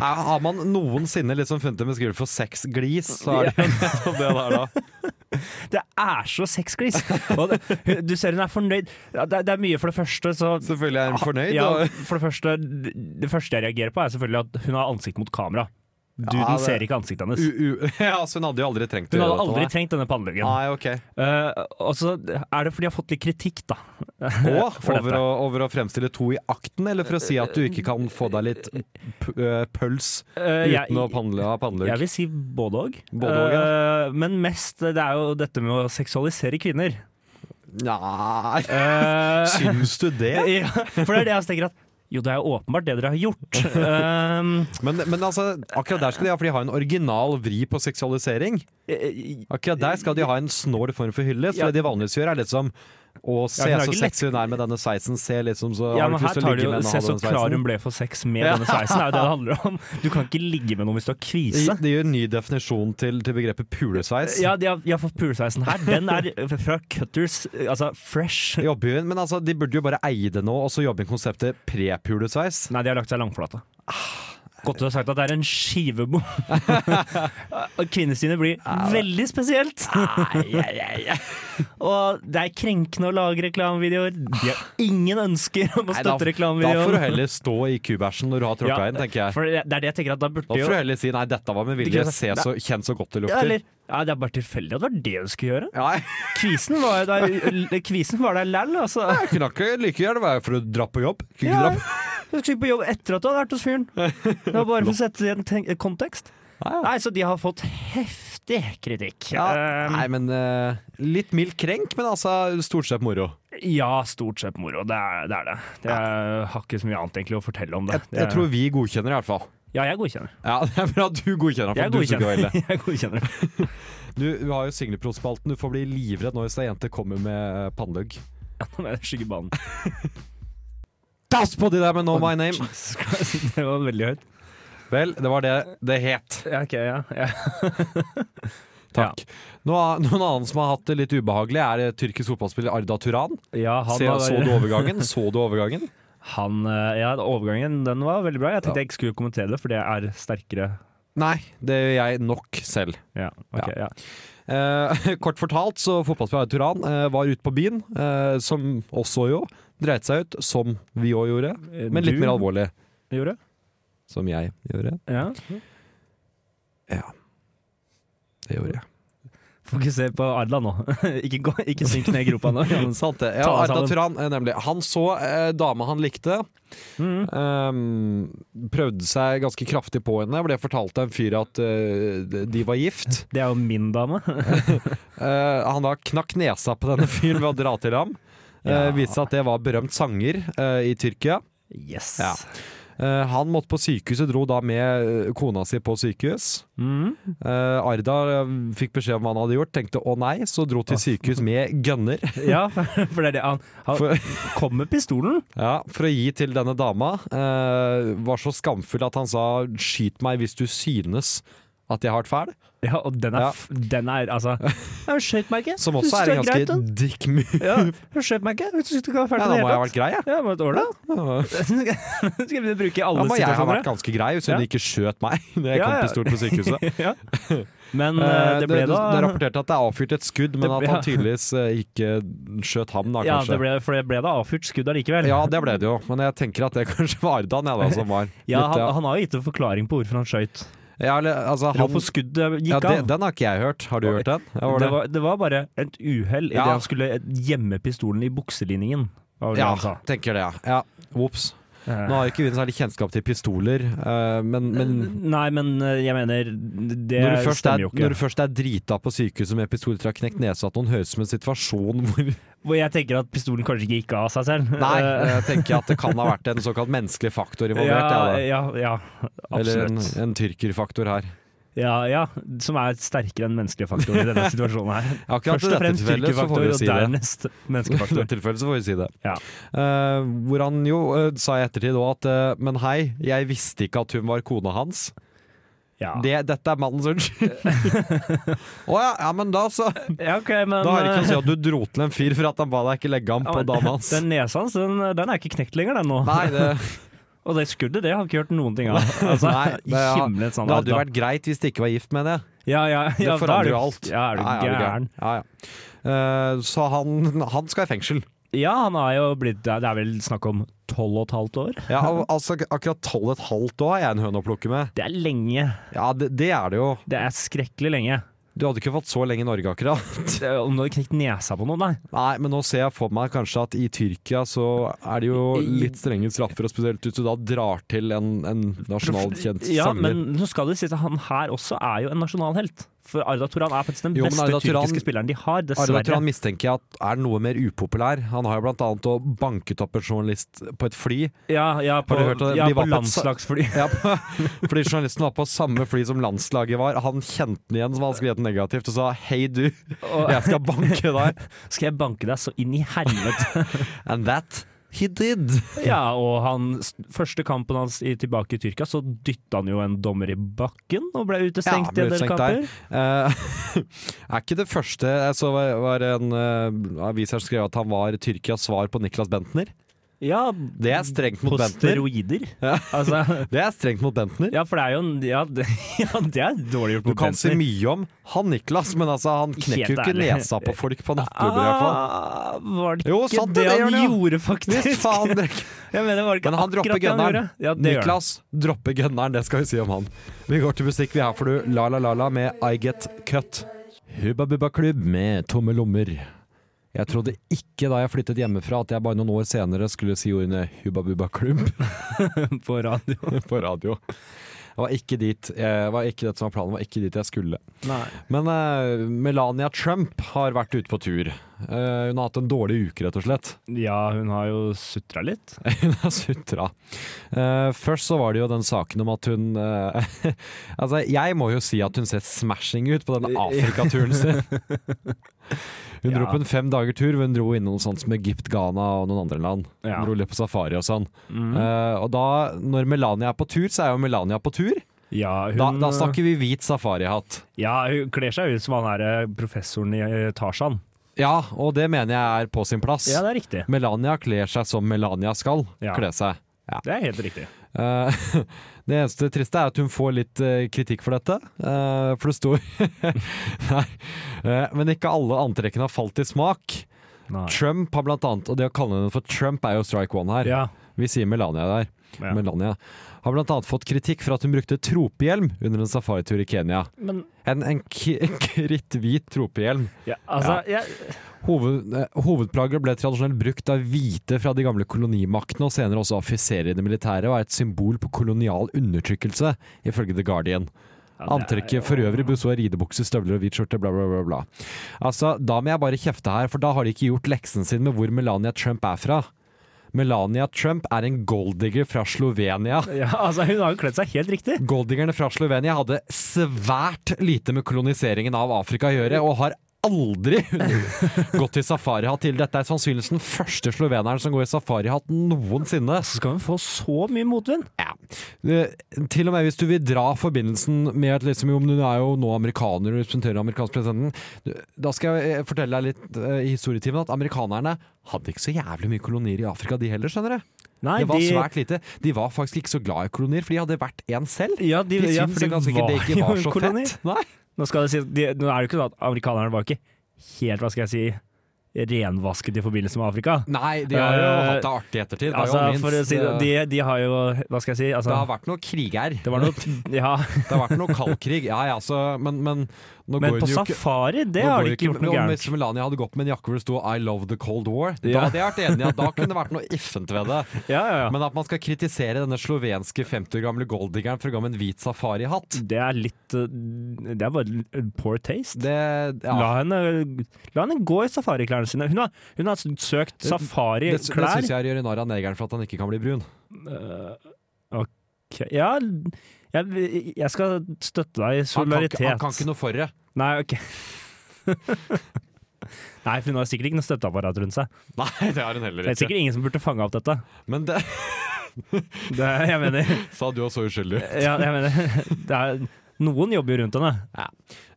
S4: Er- Har man noensinne liksom funnet en beskrivelse for sexglis, så er det jo nettopp det der, da.
S5: Det er så sexglis! Og det- Du ser hun er fornøyd. Ja, Det er, det er mye, for det første, så
S4: Selvfølgelig er hun fornøyd.
S5: ja,
S4: og-
S5: for det, første, det første jeg reagerer på, er selvfølgelig at hun har ansikt mot kamera. Duden
S4: Ja, det-
S5: ser ikke ansiktet hennes.
S4: U u ja, så hun hadde jo aldri trengt
S5: Hun
S4: å
S5: hadde
S4: gjøre
S5: aldri
S4: dette.
S5: trengt denne panneluggen.
S4: Nei, ok.
S5: Eh, og så er det fordi jeg har fått litt kritikk, da.
S4: Og
S5: for
S4: over
S5: dette.
S4: å, over å fremstille to i akten, eller for å si at du ikke kan få deg litt p øh, pøls
S5: Eh, jeg,
S4: uten å pannle- ha
S5: jeg
S4: pannelugg?
S5: vil si både òg.
S4: Både og, ja.
S5: men mest det er jo dette med å seksualisere kvinner.
S4: Nei
S5: Eh,
S4: Syns du det?
S5: ja, for det er det jeg tenker at Jo, det er jo åpenbart det dere har gjort. Um,
S4: Men, men altså, akkurat der skal de ha, for de har en original vri på seksualisering.
S5: eh,
S4: Akkurat der skal de ha en snål form for hyllest.
S5: Ja.
S4: For det de vanligvis gjør, er liksom å se
S5: Ja, hun er
S4: så
S5: ikke
S4: sexy hun er med denne sveisen, se liksom så
S5: ja,
S4: har du
S5: men
S4: ikke lyst
S5: her
S4: til å
S5: tar du
S4: ligge
S5: jo
S4: med henne og
S5: Se
S4: ha
S5: så
S4: denne
S5: klar hun
S4: sveisen.
S5: ble for sex med denne sveisen, det er jo det det handler om. Du kan ikke ligge med noen hvis du har kvise.
S4: Det- Det gir en ny definisjon til, til begrepet pulesveis.
S5: Ja, de har, de har fått pulesveisen her. Den er fra Cutters, eh, altså fresh.
S4: Jobber hun, men altså, de burde jo bare eie det nå, og så jobbe inn konseptet pre-pulesveis.
S5: Nei, de har lagt seg langflate.
S4: Ah,
S5: Godt du har sagt at det er en skivebom. Og Kvinnesynet blir veldig spesielt. Og det er krenkende å lage reklamevideoer. De har ingen ønsker om
S4: Ah.
S5: å
S4: Nei, da-
S5: støtte
S4: Da får du
S5: reklamevideoen.
S4: heller stå i kubæsjen når du har tråkka
S5: Ja,
S4: inn, tenker jeg.
S5: For det det er det jeg tenker at da
S4: Da
S5: burde
S4: får du
S5: jo
S4: heller si nei, dette var med
S5: Det
S4: vilje,
S5: kan jeg
S4: se
S5: si.
S4: så, kjenn så godt det
S5: ja,
S4: lukter.
S5: eller, ja, Det er bare tilfeldig at det var det du skulle gjøre.
S4: Nei,
S5: Kvisen var der, kvisen var der læll, altså.
S4: jeg kunne ikke like gjerne være for å dra på jobb. Kunne
S5: Ja.
S4: dra på-
S5: Du skulle ikke på jobb etter at du hadde vært hos fyren. Det var bare for å sette det i en ten- kontekst.
S4: Ja, ja.
S5: Nei, så de har fått heftig kritikk.
S4: Ja,
S5: Eh,
S4: nei, men eh, litt mild krenk, men altså stort sett moro.
S5: ja, stort sett moro. Det er det. Er det. det er, har ikke så mye annet egentlig å fortelle om det.
S4: Jeg, jeg
S5: Det-
S4: tror vi godkjenner i hvert fall.
S5: Ja, jeg godkjenner.
S4: Ja, Det er bra at du godkjenner. For
S5: Jeg
S4: du, som ikke var
S5: godkjenner.
S4: ille.
S5: jeg godkjenner.
S4: du, du har jo singelprospalten. Du får bli livredd nå hvis ei jente kommer med eh, pannelugg.
S5: Ja, nå er jeg i skyggebanen.
S4: Dass på de der med No My Name!
S5: Jesus Christ, Det var veldig høyt.
S4: Vel, det var det det het.
S5: Ja, ok, ja. ja.
S4: Takk. Noe, noen annen som har hatt det litt ubehagelig, er eh, tyrkisk fotballspiller Arda Turan.
S5: Ja, han
S4: Se,
S5: var,
S4: så du overgangen? Så du overgangen?
S5: Han, eh, ja, overgangen den var veldig bra. Jeg tenkte
S4: Ja.
S5: jeg ikke skulle kommentere det, for det er sterkere.
S4: Nei, det gjør jeg nok selv.
S5: Ja, ok, ja.
S4: Eh, kort fortalt så fotballspiller Turan eh, var ute på byen, eh, som også jo dreit seg ut, som vi òg gjorde, men litt
S5: Du
S4: mer alvorlig.
S5: Gjorde?
S4: Som jeg gjorde.
S5: Ja.
S4: Ja. Det gjorde jeg.
S5: Fokuser på Arda nå. ikke, gå, ikke synk ned i gropa nå. Johannes.
S4: Sant det. Ja,
S5: Ta oss
S4: Arda
S5: sammen.
S4: Turan, eh, nemlig. Han så eh, dama han likte.
S5: Mhm.
S4: eh, prøvde seg ganske kraftig på henne. Ble fortalt av en fyr at eh, de var gift.
S5: Det er jo min dame.
S4: Eh, han da knakk nesa på denne fyren ved å dra til ham.
S5: Ja.
S4: Uh, viste seg at det var berømt sanger eh, i Tyrkia.
S5: Yes.
S4: Ja. Eh, han måtte på sykehuset, dro da med eh, kona si på sykehus.
S5: Mhm.
S4: Eh, Arda eh, fikk beskjed om hva han hadde gjort, tenkte å nei, så dro til sykehus med gunner.
S5: ja, for det er det han, han
S4: For,
S5: kom med pistolen.
S4: ja, for å gi til denne dama. eh, var så skamfull at han sa 'skyt meg hvis du synes at jeg har vært fæl'.
S5: Ja, og den er,
S4: Ja.
S5: f- den er altså Det er jo skøytemerke.
S4: Som også er en ganske dick move.
S5: Ja, det er skøytemerke. Hvis du ikke har
S4: Ja,
S5: ferdig
S4: da
S5: med
S4: må jeg ha
S5: det
S4: vært grei, jeg.
S5: Ja, men et år, da.
S4: Ja.
S5: Skal vi begynne å bruke i alle
S4: Da må jeg ha
S5: situasjoner?
S4: vært ganske grei hvis hun
S5: Ja.
S4: ikke skjøt meg når jeg
S5: Ja,
S4: kom
S5: ja.
S4: til stort på sykehuset.
S5: ja. Men eh,
S4: Eh,
S5: det ble
S4: det,
S5: da
S4: det rapporterte at det er avfyrt et skudd, men
S5: Det-
S4: at
S5: ja.
S4: han tydeligvis eh, ikke skjøt ham, da,
S5: ja, det
S4: kanskje.
S5: ble, for det ble da avfyrt skudd allikevel.
S4: Ja, det ble det jo, men jeg tenker at det kanskje var Ardan jeg da, som var
S5: Ja,
S4: litt,
S5: han,
S4: ja.
S5: han har jo gitt en forklaring på hvorfor han skjøt.
S4: ja, eller, altså, han,
S5: Hvorfor skuddet eh, gikk
S4: ja, det,
S5: av.
S4: Den har ikke jeg hørt. Har du hørt den? Ja, var
S5: det,
S4: det?
S5: var, det var bare et uhell idet
S4: Ja.
S5: han skulle gjemme pistolen i bukselinningen. Var vel det
S4: ja
S5: han sa.
S4: tenker det, ja. ja. Ops.
S5: Eh,
S4: Nå har ikke vi noe særlig kjennskap til pistoler, eh, men, men
S5: Nei, men eh, jeg mener Det
S4: når, du først er,
S5: stemmer jo ikke.
S4: når du først er drita på sykehuset med pistoler til å ha knekt nesa, at noen høres ut som en situasjon hvor
S5: Hvor jeg tenker at pistolen kanskje ikke gikk av seg selv.
S4: Nei,
S5: Eh,
S4: jeg tenker at det kan ha vært en såkalt menneskelig faktor involvert.
S5: ja,
S4: jeg,
S5: ja, ja,
S4: da. Eller en,
S5: absolutt.
S4: en tyrkerfaktor her.
S5: Ja, ja, som er sterkere enn menneskelige faktorer i denne situasjonen her.
S4: Akkurat
S5: Først
S4: i
S5: og
S4: dette
S5: fremst
S4: tilfellet så
S5: styrkefaktor,
S4: får vi jo
S5: og
S4: si det.
S5: dernest
S4: I dette
S5: menneskefaktor.
S4: tilfellet så får vi si det.
S5: Ja.
S4: Eh, hvor han jo eh, sa i ettertid òg at eh, Men hei, jeg visste ikke at hun var kona hans.
S5: Ja.
S4: Det, dette er mannens unnskyld. Å ja, ja, men da så.
S5: ja, ok, men
S4: Da har det ikke
S5: eh,
S4: noe å si at du dro til en fyr for at han ba deg ikke legge ham
S5: ja,
S4: på
S5: men
S4: dama hans.
S5: Den nesa hans, den, den er ikke knekt lenger, den nå.
S4: Nei, det,
S5: Og det skuddet, det har vi ikke hørt noen ting av. Altså,
S4: Nei, det-
S5: I
S4: ja.
S5: himmelens
S4: det
S5: navn.
S4: hadde jo vært greit hvis det ikke var gift, mener jeg.
S5: Ja, ja,
S4: Det
S5: ja, da er
S4: forandrer
S5: du-
S4: jo alt.
S5: Ja, er du
S4: Ja, ja,
S5: gæren?
S4: Ja, ja. Eh, så han, han skal i fengsel.
S5: Ja, han har jo blitt Det er vel snakk om tolv og et halvt år?
S4: Ja, al- altså ak- Akkurat tolv og et halvt år er jeg en høne å plukke med.
S5: Det er lenge.
S4: Ja, det, det er det jo.
S5: Det er skrekkelig lenge.
S4: Du hadde ikke fått så lenge i Norge, akkurat.
S5: Det er- Om du hadde knekt nesa på noen, nei.
S4: Nei, men nå ser jeg for meg kanskje at i Tyrkia så er det jo litt strenge straffer, og spesielt hvis du da drar til en, en nasjonalkjent
S5: Ja,
S4: sanger.
S5: men nå skal det sies at han her også er jo en nasjonalhelt. For Arda Turan er faktisk den
S4: Jo, men
S5: beste
S4: Arda Turan-
S5: tyrkiske spilleren de har,
S4: Arda
S5: dessverre.
S4: Turan mistenker jeg at er noe mer upopulær. Han har jo blant annet å banket opp en journalist på et fly.
S5: Ja, ja, på,
S4: du hørt at
S5: ja,
S4: de var på
S5: på
S4: et-
S5: landslagsfly.
S4: Ja, på- fordi journalisten var på samme fly som landslaget var. Han kjente den igjen, som han skrev negativt, og sa 'hei, du, jeg skal banke deg'.
S5: Skal jeg banke deg så inn i helvete?
S4: And that he did.
S5: ja, og han, første kampen hans i, tilbake i Tyrkia, så dytta han jo en dommer i bakken og ble utestengt
S4: Ja,
S5: i
S4: ble
S5: en del
S4: utestengt
S5: kamper.
S4: Eh, er ikke det første Jeg så var- var en eh, avis her som skrev at han var Tyrkias svar på Niklas Bentner.
S5: Ja,
S4: Det er strengt mot
S5: på
S4: Bentner.
S5: steroider.
S4: Ja.
S5: Altså,
S4: Det er strengt mot Bentner.
S5: ja, for det er jo en Ja, det, ja, det er dårlig gjort
S4: Du
S5: på
S4: kan si
S5: Bentner.
S4: mye om han Niklas, men altså, han knekker jo ikke
S5: ærlig.
S4: nesa på folk på nattklubber i hvert fall.
S5: Ah, var det ikke
S4: Jo, sant
S5: det,
S4: det, det
S5: han
S4: gjør han jo.
S5: gjorde, faktisk?
S4: Visst faen, det er ikke-
S5: Jeg mener, var det ikke
S4: Men han
S5: akkurat
S4: dropper
S5: det han
S4: gunneren.
S5: gjorde? Ja, det gjør han.
S4: Niklas dropper gunneren, det skal vi si om han. Vi går til musikk, vi her får du La La La La med I Get Cut. Hubba Bubba Klubb med tomme lommer. Jeg trodde ikke da jeg flyttet hjemmefra at jeg bare noen år senere skulle si ordene Hubba Bubba Klubb
S5: på radio.
S4: på radio. Det var ikke dit jeg, var ikke det som var planen, det var ikke dit jeg skulle.
S5: Nei.
S4: Men eh, Melania Trump har vært ute på tur. Eh, hun har hatt en dårlig uke, rett og slett.
S5: Ja, hun har jo sutra litt.
S4: Hun har sutra. Eh, først så var det jo den saken om at hun eh, Altså, jeg må jo si at hun ser smashing ut på den Afrikaturen sin. Hun dro
S5: Ja.
S4: på en fem dager tur, hvor hun dro innom sånt som Egypt, Ghana og noen andre land.
S5: Ja. Mm.
S4: Hun dro litt på safari og sånn. Eh, og da, når Melania er på tur, så er jo Melania på tur.
S5: Ja, hun, eh,
S4: Da, da snakker vi hvit safarihatt.
S5: ja, hun kler seg ut som han her eh, professoren i eh, Tarzan.
S4: Ja, og det mener jeg er på sin plass.
S5: Ja, det er riktig.
S4: Melania kler seg som Melania skal
S5: Ja.
S4: kle seg.
S5: Det er helt riktig.
S4: Eh, det eneste triste er at hun får litt eh, kritikk for dette, eh, for det står Nei. eh, men ikke alle antrekkene har falt i smak.
S5: Nei.
S4: Trump har blant annet, og det å kalle henne for Trump er jo strike one her.
S5: Ja.
S4: Vi sier Melania der.
S5: Ja.
S4: Melania har blant annet fått kritikk for at hun brukte tropehjelm under en safaritur i Kenya.
S5: Men
S4: En, en ki- kritthvit tropehjelm.
S5: ja, altså jeg-
S4: Hoved, eh, hovedplagget ble tradisjonelt brukt av hvite fra de gamle kolonimaktene og senere også offiserer i det militære, og er et symbol på kolonial undertrykkelse, ifølge The Guardian.
S5: ja, det er jo-
S4: Antrekket for øvrig bestod av ridebukse, støvler og hvit skjorte, bla, bla, bla. bla. Altså, da må jeg bare kjefte her, for da har de ikke gjort leksen sin med hvor Melania Trump er fra. Melania Trump er en golddigger fra Slovenia.
S5: ja, altså, Hun har jo kledd seg helt riktig.
S4: Goldingerne fra Slovenia hadde svært lite med koloniseringen av Afrika å gjøre, og har aldri gått i safarihatt til. Dette er sannsynligvis den første sloveneren som går i safarihatt noensinne.
S5: Så skal hun få så mye motvind.
S4: Ja. Eh, Til og med hvis du vil dra forbindelsen med at liksom, jo, men hun er jo nå amerikaner og representerer den amerikanske presidenten, du- da skal jeg eh, fortelle deg litt eh, i historietimen at amerikanerne hadde ikke så jævlig mye kolonier i Afrika de heller, skjønner du.
S5: Nei,
S4: Det var
S5: de-
S4: svært lite. De var faktisk ikke så glad i kolonier, for de hadde vært en selv.
S5: Ja, de,
S4: De
S5: ja,
S4: syns
S5: for de
S4: ganske ikke det ikke
S5: jo
S4: var
S5: en
S4: så
S5: koloni.
S4: fett. Nei.
S5: Nå, skal det si, de, nå er det jo ikke sånn at amerikanerne var ikke helt, hva skal jeg si, renvasket i forbindelse med Afrika.
S4: de har jo
S5: Eh,
S4: hatt det artig i ettertid. Det, er jo
S5: Altså,
S4: minst,
S5: for å si det,
S4: eh,
S5: de, de har jo, hva skal jeg si,
S4: det
S5: altså
S4: har vært noe krig her.
S5: Det var noe Ja,
S4: Det har vært noe kaldkrig. Ja, ja, så, men, men Nå
S5: Men
S4: går
S5: på
S4: den jo ikke-
S5: safari, det
S4: nå
S5: har
S4: går
S5: de ikke gjort noe
S4: om
S5: gærent.
S4: Hvis Melania hadde gått med en jakke hvor det sto 'I love the Cold War', da
S5: Ja.
S4: hadde jeg vært enig i at da kunne det vært noe effent ved det.
S5: Ja, ja, ja.
S4: Men at man skal kritisere denne slovenske 50 år gamle golddiggeren for å gå med en hvit safarihatt,
S5: Det er litt eh, Det er bare poor taste.
S4: det
S5: La,
S4: ja.
S5: henne, la henne gå i safariklærne sine. Hun har, hun har søkt
S4: Det, det syns
S5: safariklær.
S4: jeg gjør narr av negeren for at han ikke kan bli brun.
S5: Eh, Ok, Ja, jeg, jeg skal støtte deg
S4: Han kan,
S5: i
S4: ikke-
S5: solidaritet.
S4: han kan ikke noe for det.
S5: Nei, ok. Nei, for hun har sikkert ikke noe støtteapparat rundt seg.
S4: Nei, det har hun heller
S5: Det er
S4: ikke.
S5: sikkert ingen som burde fange opp dette.
S4: Men det
S5: Det, er- jeg mener,
S4: sa du også uskyldig.
S5: ja, jeg mener det er, Noen jobber jo rundt henne.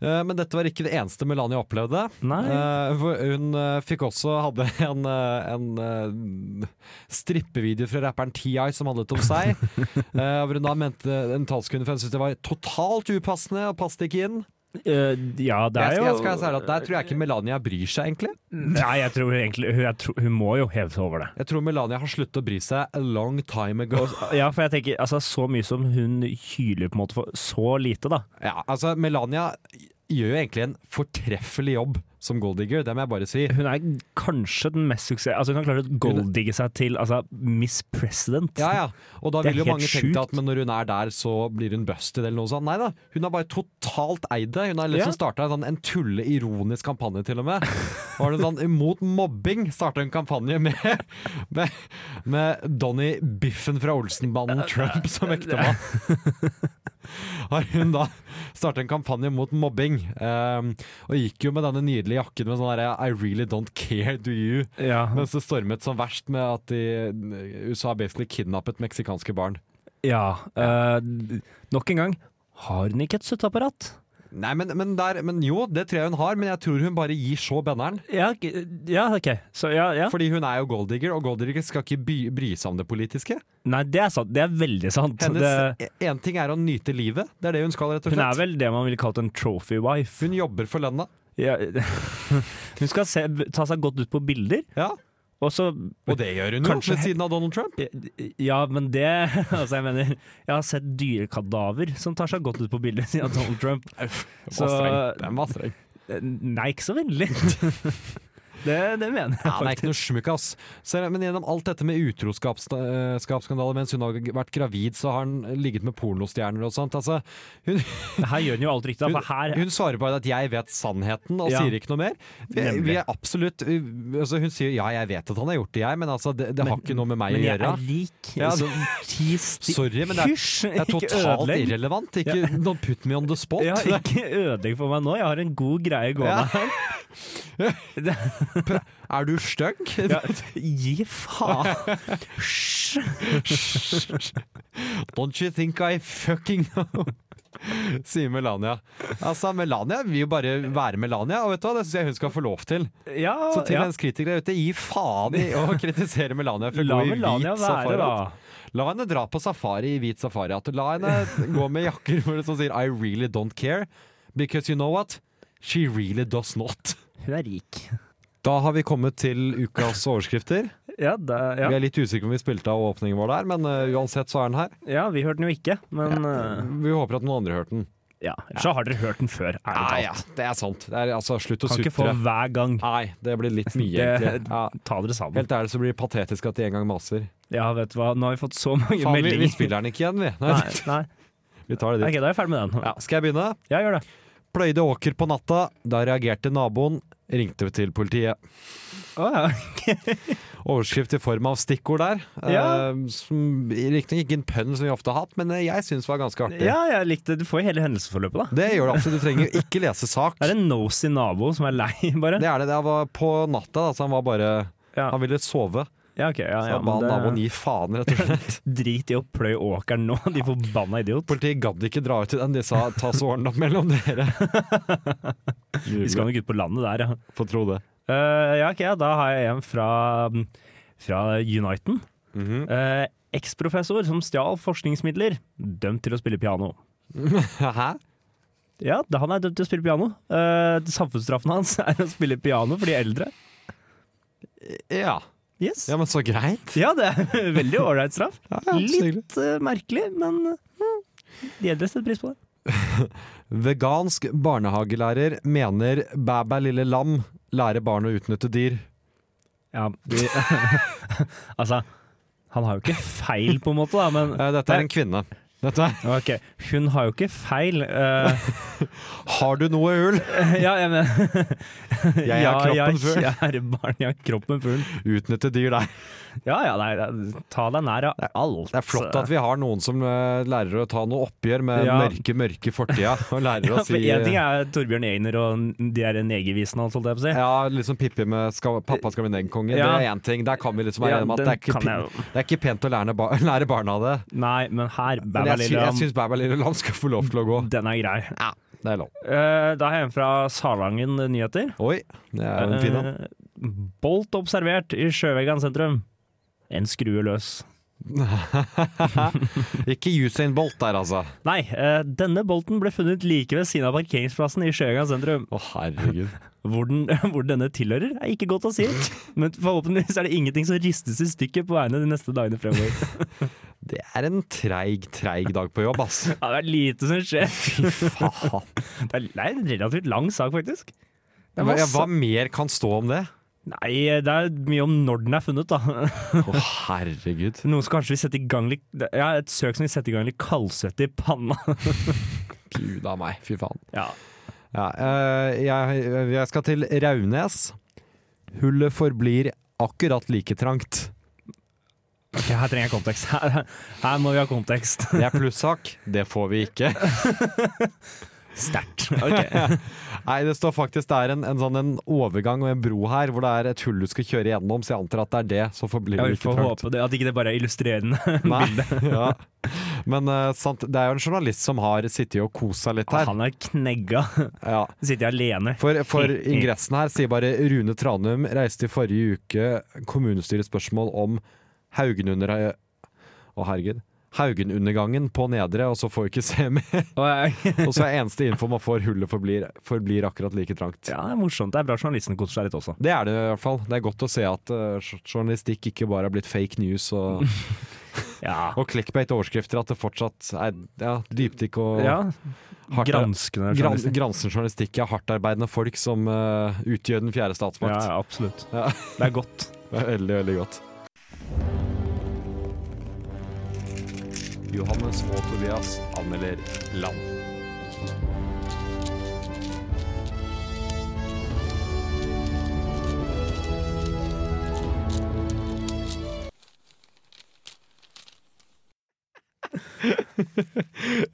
S4: Eh, Men dette var ikke det eneste Melania opplevde.
S5: Nei.
S4: Eh, for Hun eh, fikk også hadde en, eh, en eh, strippevideo fra rapperen T.I. som handlet om seg. eh, hvor hun da mente en talskvinne for henne syntes det var totalt upassende og passet ikke inn.
S5: Eh, ja,
S4: Jeg
S5: det er
S4: skal,
S5: jo
S4: jeg skal være så ærlig at Der tror jeg ikke Melania bryr seg, egentlig.
S5: Nei, jeg tror egentlig hun, jeg tror, hun må jo heve seg over det.
S4: Jeg tror Melania har sluttet å bry seg a long time ago.
S5: Ja, for jeg tenker, altså så mye som hun hyler på en måte for så lite, da.
S4: Ja, altså, Melania gjør jo egentlig en fortreffelig jobb som golddigger, det må jeg bare si.
S5: Hun er kanskje den mest suksess... Altså hun har klart å golddigge seg til altså, Miss President.
S4: Ja, ja. Og da
S5: Det er
S4: vil jo
S5: helt
S4: mange tenke
S5: sjukt.
S4: at men når hun er der, så blir hun busted eller noe sånt. Nei da, hun har bare totalt eid det. Hun har liksom
S5: Ja.
S4: starta en, sånn, en tulle ironisk kampanje, til og med. Var det en sånn Imot mobbing starta en kampanje med, med, med Donny Biffen fra Olsenbanden Trump som ektemann. Har hun da starta en kampanje mot mobbing, um, og gikk jo med denne nydelige jakken med sånn derre I really don't care, do you?
S5: Ja,
S4: Mens det stormet som verst med at de, USA basically kidnappet meksikanske barn.
S5: ja. eh, nok en gang, har hun ikke et støtteapparat?
S4: Nei, men, men, der, men jo, det tror jeg hun har, men jeg tror hun bare gir så benneren.
S5: Ja, ok. ja ok. Så, ja, ja.
S4: Fordi hun er jo golddigger, og golddigger skal ikke by, bry seg om det politiske.
S5: Nei, det er sant. Det er veldig sant.
S4: Hennes
S5: det,
S4: Én ting er å nyte livet, det er det hun skal, rett og
S5: hun er
S4: slett.
S5: vel det man ville kalt en trophy wife.
S4: Hun jobber for lønna.
S5: Ja. Hun skal se, ta seg godt ut på bilder,
S4: Ja,
S5: og så
S4: og det gjør hun jo,
S5: Kanskje-
S4: ved siden av Donald Trump.
S5: Ja, men det Altså, jeg mener Jeg har sett dyrekadaver som tar seg godt ut på bildet siden av Donald Trump.
S4: Den
S5: Så eh,
S4: var streng. Den var streng.
S5: Nei, ikke så vennlig. Det, det mener jeg
S4: Ja, det er ikke
S5: faktisk.
S4: noe smykk, ass. Så, men gjennom alt dette med utroskapsskandaler mens hun har vært gravid, så har han ligget med pornostjerner og sånt. Altså, hun,
S5: Her gjør hun jo alt riktig, da, for Altså, her
S4: Hun svarer bare at 'jeg vet sannheten' og
S5: Ja.
S4: sier ikke noe mer. Vi,
S5: Nemlig.
S4: vi er absolutt altså Hun sier 'ja, jeg vet at han har gjort det, jeg', men altså, det, det har ikke noe med meg å
S5: Men jeg
S4: gjøre.
S5: er rik,
S4: Ja,
S5: så ti
S4: Sorry, men det er-
S5: Hysj!
S4: Det er
S5: Ikke
S4: totalt
S5: ødelegg.
S4: irrelevant. Ikke don't put me on the spot.
S5: Ja, ikke ødelegg for meg nå, jeg har en god greie gående
S4: Ja.
S5: her.
S4: Er du stygg?
S5: Ja, gi faen! Hysj!
S4: Don't you think I fucking know? Sier Melania. Altså, Melania vil jo bare være Melania, og vet du hva, det syns jeg hun skal få lov til.
S5: Ja,
S4: Så til
S5: ja.
S4: hennes kritikere ute, gi faen i å kritisere Melania for å
S5: La
S4: gå i
S5: Melania
S4: hvit
S5: være, da.
S4: safarihatt. La henne dra på safari i hvit safarihatt. og La henne gå med jakker hvor det som sier 'I really don't care', because you know what? She really does not.
S5: Hun er rik.
S4: Da har vi kommet til ukas overskrifter.
S5: Ja, det, ja.
S4: Vi er litt usikre på om vi spilte av åpningen vår der, men eh, uansett så er den her.
S5: Ja, vi hørte den jo ikke, men eh,
S4: Vi håper at noen andre hørte den.
S5: ja. Ellers så har dere hørt den før, ærlig
S4: Ja,
S5: talt.
S4: ja, det er sant. Det er, altså, slutt å
S5: Kan ikke få
S4: sutre.
S5: hver gang.
S4: Nei, det blir litt mye,
S5: Det,
S4: egentlig. Ja.
S5: ta dere sammen.
S4: Helt ærlig så blir det patetisk at de en gang maser.
S5: Ja, vet du hva, nå har vi fått så mange
S4: Faen, vi,
S5: meldinger.
S4: vi spiller den ikke igjen, vi. Nei,
S5: Nei, nei.
S4: vi tar det
S5: Ok,
S4: dit.
S5: da er jeg ferdig med den.
S4: Ja, skal jeg begynne?
S5: Ja, gjør det.
S4: Pløyde åker på natta. Da reagerte naboen. Ringte til politiet.
S5: Å, ja.
S4: overskrift i form av stikkord der.
S5: Ja.
S4: Eh, som Riktignok ikke en pønn som vi ofte har hatt, men eh, jeg syns var ganske artig.
S5: ja, jeg likte Du får jo hele hendelsesforløpet, da.
S4: Det gjør det absolutt. Du trenger jo ikke lese sak.
S5: Det er en nosy nabo som er lei, bare.
S4: Det er det. Det var på natta, da, så han var bare
S5: Ja,
S4: Han ville sove.
S5: ja ok. Ja,
S4: Så
S5: ja,
S4: han ba naboen
S5: men det,
S4: gi faen, rett og slett.
S5: drit i å pløye åkeren nå, de forbanna idiot.
S4: Politiet gadd ikke dra ut til den. De sa ta så ordentlig opp mellom dere.
S5: Vi skal
S4: Nydelig.
S5: nok ut på landet der, ja.
S4: Få tro det.
S5: Eh, ja, ok, ja, da har jeg en fra, fra Uniten.
S4: Mhm.
S5: Eh, Eksprofessor som stjal forskningsmidler, dømt til å spille piano.
S4: Hæ?
S5: Ja, da han er dømt til å spille piano. Eh, samfunnsstraffen hans er å spille piano for de eldre.
S4: Ja.
S5: Yes.
S4: ja, men så greit.
S5: Ja, det er veldig ålreit straff.
S4: Ja, ja, så hyggelig.
S5: Litt eh, merkelig, men eh, de eldre setter pris på det.
S4: Vegansk barnehagelærer mener bæ-bæ lille lam lærer barn å utnytte dyr.
S5: Ja, de, altså, han har jo ikke feil, på en måte, da, men
S4: Eh, Dette er en kvinne. Dette er
S5: Ok, hun har jo ikke feil. eh,
S4: Har du noe hull?
S5: ja, jeg mener
S4: er kroppen full.
S5: Jeg er barn, jeg er kroppen full.
S4: Utnytte dyr der.
S5: Ja ja, nei, nei, ta deg nær av alt.
S4: Det er flott at vi har noen som eh, lærer å ta noe oppgjør med
S5: Ja.
S4: mørke, mørke fortida. Og lærer å
S5: ja, for
S4: si
S5: En ting er Torbjørn Egner og de der negervisene hans, holdt jeg på å si.
S4: Ja, liksom Pippi med skal, 'Pappa skal bli negerkonge'.
S5: Ja.
S4: Det er én ting. Der kan vi liksom være
S5: Ja,
S4: enige om at
S5: den
S4: det er, ikke
S5: kan jeg
S4: pen, det er ikke pent å lære, ba lære barna det.
S5: Nei, men her,
S4: Men
S5: Bæva
S4: jeg, sy
S5: Lilla,
S4: jeg syns Bæ Bæ Lille Lam skal få lov til å gå.
S5: den er grei.
S4: Ja, det er lov.
S5: Eh, da har jeg en fra Salangen eh, Nyheter.
S4: Oi, det er jo en fin en.
S5: Eh, Bolt observert i Sjøvegan sentrum. En skrue løs.
S4: Ikke Usain Bolt der, altså.
S5: Nei, eh, denne bolten ble funnet like ved siden av parkeringsplassen i Sjøvegan sentrum.
S4: Å, herregud.
S5: Hvor, den, hvor denne tilhører, er ikke godt å si. Men forhåpentligvis er det ingenting som ristes i stykker på veiene de neste dagene fremover.
S4: Det er en treig, treig dag på jobb, ass.
S5: Ja, det er lite som skjer.
S4: Faen.
S5: Det er, det er en relativt lang sak, faktisk. Det er
S4: Hva, ja,
S5: masse-
S4: hva mer kan stå om det?
S5: Nei, det er mye om når den er funnet, da.
S4: Å, herregud.
S5: Noen som kanskje vil sette i gang litt Ja, et søk som vil sette i gang litt kaldsvette i panna.
S4: Gud av meg, fy faen.
S5: Ja.
S4: Ja, eh, jeg, jeg skal til Raunes. Hullet forblir akkurat like trangt.
S5: Ok, her trenger jeg kontekst. Her, her må vi ha kontekst.
S4: Det er plussak, det får vi ikke.
S5: Sterkt. Ok.
S4: Nei, det står faktisk det er en, en sånn en overgang og en bro her hvor det er et hull du skal kjøre gjennom, så jeg antar at det er det som forblir
S5: Ja, vi
S4: like
S5: får
S4: trangt.
S5: håpe det, at ikke det bare er illustrerende.
S4: Nei, ja. Men eh, sant, det er jo en journalist som har sittet og kosa litt her.
S5: Han er knegga.
S4: Ja.
S5: Sitter jeg alene.
S4: For, for ingressen her sier bare Rune Tranum reiste i forrige uke kommunestyrets spørsmål om Haugen under Å, herregud. Haugen-undergangen på nedre, og så får vi ikke se mer.
S5: Og jeg-
S4: Og så er eneste info man får, hullet forblir, forblir akkurat like trangt.
S5: Ja, det er morsomt. Det er bra journalisten koser seg litt også.
S4: Det er det i hvert fall. Det er godt å se at eh, jour- journalistikk ikke bare har blitt fake news og,
S5: Ja.
S4: og clickbait-overskrifter, at det fortsatt er ja, dypdykk og
S5: ja.
S4: hardt
S5: Granskende
S4: gran,
S5: journalist.
S4: Granskende journalistikk er hardtarbeidende folk som eh, utgjør den fjerde
S5: Ja,
S4: statsmakt.
S5: ja, absolutt.
S4: Ja.
S5: Det er godt.
S4: Det er Veldig, veldig godt. Johannes og Tobias anmelder land.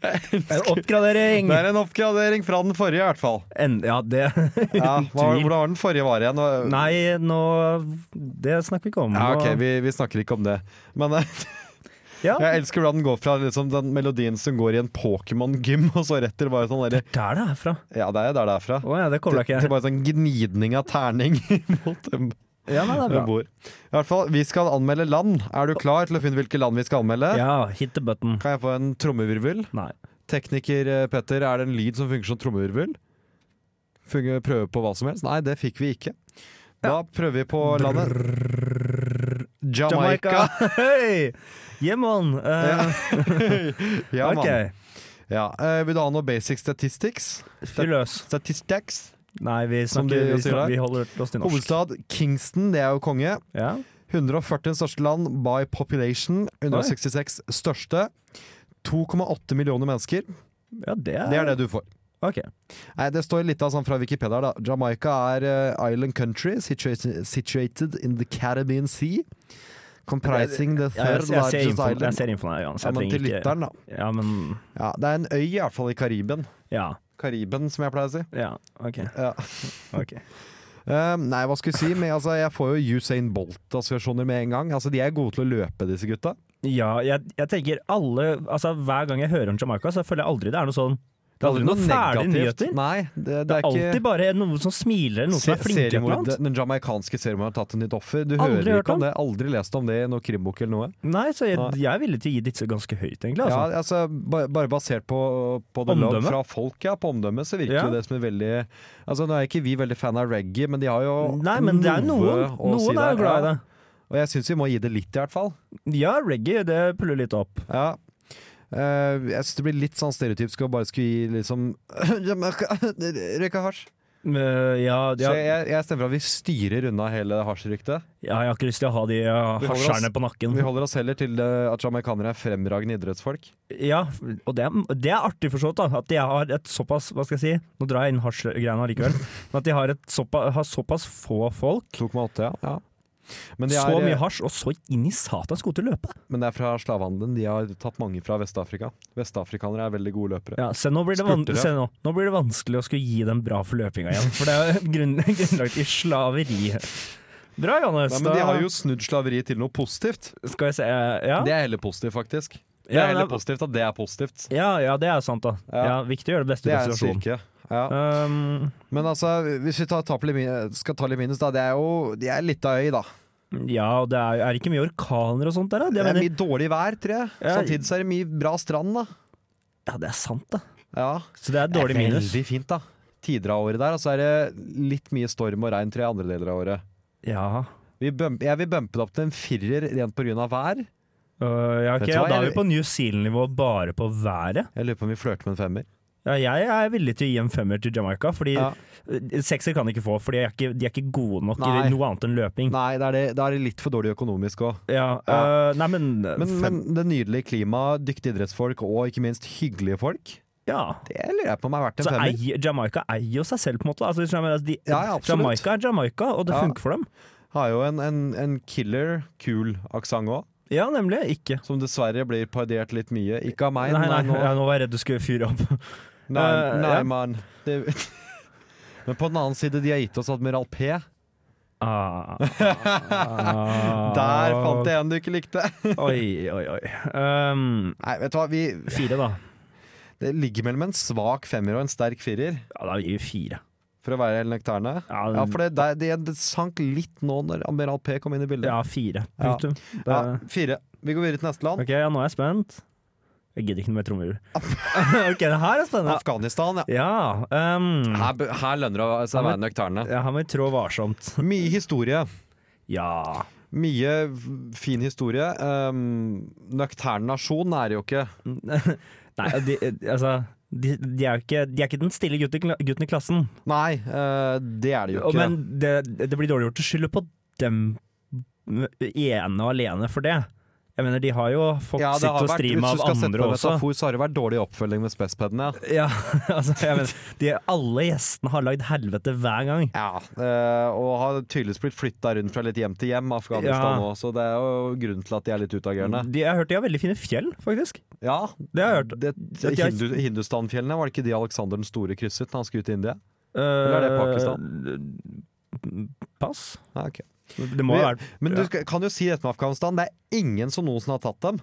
S5: En oppgradering!
S4: Det er en oppgradering fra den forrige, i hvert fall.
S5: ja, det
S4: Ja, hva,
S5: tvil.
S4: hvordan var den forrige var igjen? Hva-
S5: Nei, nå Det snakker vi ikke om.
S4: Ja,
S5: Nå-
S4: ok, vi, vi snakker ikke om det. Men eh,
S5: ja.
S4: jeg elsker hvordan den går fra liksom, den melodien som går i en Pokémon-gym, og så rett til bare sånn derre
S5: Der det er fra.
S4: Ja, det er der det er fra.
S5: Å ja, det
S4: Til,
S5: kobla ikke
S4: til
S5: jeg.
S4: bare sånn gnidning av terning mot en
S5: Ja, nei, det er
S4: en
S5: bra.
S4: bord. I hvert fall, vi skal anmelde land. Er du klar til å finne hvilke land vi skal anmelde?
S5: Ja, hit the button.
S4: Kan jeg få en trommevirvel?
S5: Nei.
S4: Tekniker eh, Petter, er det en lyd som funker som trommevirvel? Funge- Prøve på hva som helst? Nei, det fikk vi ikke. Da prøver vi på landet. Jamaica.
S5: Jamaica! Hei! Yeah, man! Eh,
S4: Ja, mann.
S5: ok,
S4: Ja. eh, vil du ha noe basic statistics?
S5: fyr løs.
S4: Statistics.
S5: Nei, vi,
S4: Som
S5: snakker,
S4: de
S5: vi,
S4: sier der.
S5: snakker, vi holder oss til norsk.
S4: Hovedstad Kingston, det er jo konge.
S5: Ja.
S4: 140 største land by population. 166 største. 2,8 millioner mennesker.
S5: ja, det er
S4: Det er det du får.
S5: Ok.
S4: Eh, Nei, Det står litt av sånn fra Wikipedia. her, da Jamaica er eh, island country situated, situated in the Caribbean Sea. Comprising the
S5: Ja, jeg,
S4: third
S5: jeg, ser
S4: largest
S5: info, jeg
S4: island.
S5: ser infoen her uansett.
S4: Ja, men
S5: Jeg
S4: til
S5: trenger ikke-
S4: lytteren, da.
S5: Ja, men
S4: Ja, det er en øy, i hvert fall i Kariben.
S5: Ja.
S4: Kariben, som jeg pleier å si.
S5: ja ok.
S4: Ja.
S5: ok.
S4: Eh, nei, hva skal jeg si? Men altså, jeg får jo Usain Bolt-assosiasjoner med en gang. Altså, De er gode til å løpe, disse gutta.
S5: Ja, jeg, jeg tenker alle Altså, hver gang jeg hører om Jamaica, så føler jeg aldri det er noe sånn Det er aldri noen fæle nyheter.
S4: Nei, det, det,
S5: Det er
S4: er ikke
S5: alltid bare noen som smiler, noen som er
S4: Se-
S5: flinke til
S4: seriemord-
S5: noe annet.
S4: Den jamaicanske seriemorderen har tatt et nytt offer. Du
S5: Aldri
S4: hører
S5: hørt
S4: ikke
S5: om.
S4: om det. Aldri lest om det i noen krimbok eller noe.
S5: Nei, så jeg,
S4: Nei.
S5: jeg er villig til å gi disse ganske høyt, egentlig.
S4: Ja,
S5: Altså.
S4: altså, ba- bare basert på, på det
S5: Omdømme?
S4: lov fra folk, ja, på omdømmet, så virker
S5: Ja.
S4: jo det som en veldig Altså, Nå er ikke vi veldig fan av reggae, men de har jo
S5: Nei, men det er noen.
S4: å
S5: Noen
S4: si der.
S5: er jo glad i det.
S4: Ja, Og jeg syns vi må gi det litt, i hvert fall.
S5: Ja, reggae, det puller litt opp.
S4: Ja. Eh, jeg syns det blir litt sånn stereotypisk å bare skulle gi liksom Røyka hasj.
S5: Eh, ja, ja,
S4: Så jeg, jeg stemmer for at vi styrer unna hele hasjryktet.
S5: ja, jeg har ikke lyst til å ha de
S4: Vi
S5: eh,
S4: holder
S5: hasjerne
S4: oss-
S5: på nakken.
S4: Vi holder oss heller til eh, at jamaicanere er fremragende idrettsfolk.
S5: Ja, og det, er- det er artig for så vidt, da. At de har et såpass Hva skal jeg si? Nå drar jeg inn hasjgreiene allikevel. Men at de har, et såpa, har såpass få folk.
S4: 2,8, ja. ja. Men, de
S5: så mye
S4: er, eh,
S5: hasj, og så inn i satans gode til å løpe!
S4: men det er fra slavehandelen. De har tatt mange fra Vest-Afrika. Vestafrikanere er veldig gode løpere.
S5: Ja, se, nå, blir det van
S4: Spurter, ja.
S5: se nå. nå blir det vanskelig å skulle gi dem bra for løpinga igjen. For det er jo grunn grunnlagt i slaveri. Bra, Johannes.
S4: Nei, men de
S5: da
S4: har jo snudd slaveri til noe positivt.
S5: Skal jeg se eh, Ja,
S4: Det er heller positivt, faktisk. Det
S5: Ja,
S4: er heller
S5: det er-
S4: positivt at det er positivt.
S5: ja, ja det er sant, da.
S4: Ja.
S5: Ja. viktig å gjøre det beste
S4: Det
S5: i
S4: er en
S5: situasjonen.
S4: styrke. Ja.
S5: Um,
S4: Men altså, hvis vi tar, tar på Limi- skal ta litt minus, da. Det er jo det er litt av øy, da.
S5: ja, og det er, er det ikke mye orkaner og sånt der, da? Det,
S4: Det er
S5: mener,
S4: mye dårlig vær, tror jeg.
S5: Ja.
S4: Samtidig så er det mye bra strand, da.
S5: ja, det er sant, da.
S4: Ja.
S5: Så det er dårlig
S4: Det er
S5: minus.
S4: Veldig fint, da. Tider av året der. Og så er det litt mye storm og regn, tror jeg, andre deler av året.
S5: Ja.
S4: Vi bump, jeg vil bumpe det opp til en firer rent pga. vær.
S5: Øh, ja, ok,
S4: Vet du
S5: ja,
S4: hva,
S5: da er
S4: jeg-
S5: vi på New Zealand-nivå bare på været.
S4: Jeg lurer på om vi flørter med en femmer.
S5: Ja, jeg er villig til å gi en femmer til Jamaica, fordi
S4: Ja.
S5: øh, sekser kan de ikke få, for de er ikke, de er ikke gode nok
S4: Nei.
S5: i noe annet enn løping.
S4: Nei, da er det, da er det litt for dårlig økonomisk òg.
S5: Ja,
S4: Ja.
S5: øh, nei, men,
S4: Men, men
S5: fem,
S4: det nydelige klimaet, dyktige idrettsfolk og ikke minst hyggelige folk,
S5: ja.
S4: det lurer jeg på om er verdt en
S5: Så
S4: femmer.
S5: eier, Jamaica eier jo seg selv, på en måte. da. Altså, hvis du skjønner, altså, de,
S4: Ja, ja, absolutt.
S5: Jamaica er Jamaica, og det
S4: Ja.
S5: funker for dem.
S4: Har jo en, en, en killer, kul aksent òg,
S5: Ja, nemlig. Ikke.
S4: som dessverre blir parodiert litt mye. Ikke av
S5: Nei,
S4: meg,
S5: nei,
S4: nei, nå.
S5: ja, nå var jeg redd du skulle fyre opp.
S4: Nei,
S5: Eh,
S4: nei
S5: ja.
S4: mann. Det... Men på den annen side, de har gitt oss Admiral P.
S5: Ah,
S4: Der fant jeg en du ikke likte!
S5: Oi, oi, oi. Um,
S4: Nei, vet du hva, vi
S5: fire, da.
S4: Det ligger mellom en svak femmer og en sterk firer,
S5: Ja, da gir vi fire.
S4: for å være helt nøkterne.
S5: Ja,
S4: Ja, for det, det, det, det sank litt nå når Admiral P kom inn i bildet.
S5: ja fire.
S4: Ja.
S5: Punktum. Det-
S4: Ja, fire. Vi går videre til neste land.
S5: Ok, ja, nå er jeg spent. Jeg gidder ikke noe mer trommevirvel. ok, det her er spennende.
S4: Afghanistan, ja.
S5: Ja, um,
S4: Her, bø- her lønner det seg å være nøkterne.
S5: ja, her må vi trå varsomt.
S4: Mye historie.
S5: Ja.
S4: Mye f- fin historie. Um, nøktern nasjon er det jo ikke.
S5: Nei, de, altså de, de, er jo ikke, de er ikke den stille gutten, i kla- gutten i klassen.
S4: Nei, eh, det er det jo
S5: Og-
S4: ikke.
S5: Men det, det blir dårlig gjort å skylde på dem ene og alene for det. Jeg mener, de har jo fått
S4: ja, det
S5: sitt
S4: har
S5: å
S4: vært,
S5: stri
S4: hvis
S5: med
S4: du
S5: av
S4: skal sette
S5: andre
S4: på
S5: også.
S4: metafor, så har det vært dårlig oppfølging med spesspedene. Ja.
S5: Ja, altså, jeg mener, de, alle gjestene har lagd helvete hver gang.
S4: Ja, eh, og har tydeligvis blitt flytta rundt fra litt hjem til hjem, Afghanistan
S5: Ja.
S4: nå, så det er jo grunnen til at de er litt utagerende.
S5: De, jeg har hørt de har veldig fine fjell, faktisk.
S4: Ja,
S5: Det har jeg hørt.
S4: det,
S5: At de har-
S4: Hindu, Hindustanfjellene, var det ikke de Aleksander den store krysset da han skulle ut i India?
S5: Eller
S4: er det
S5: Eh, Pass.
S4: Ja, ok.
S5: Det må jo være
S4: Men du
S5: Ja.
S4: skal, kan jo si dette med Afghanistan, det er ingen som noensinne har tatt dem.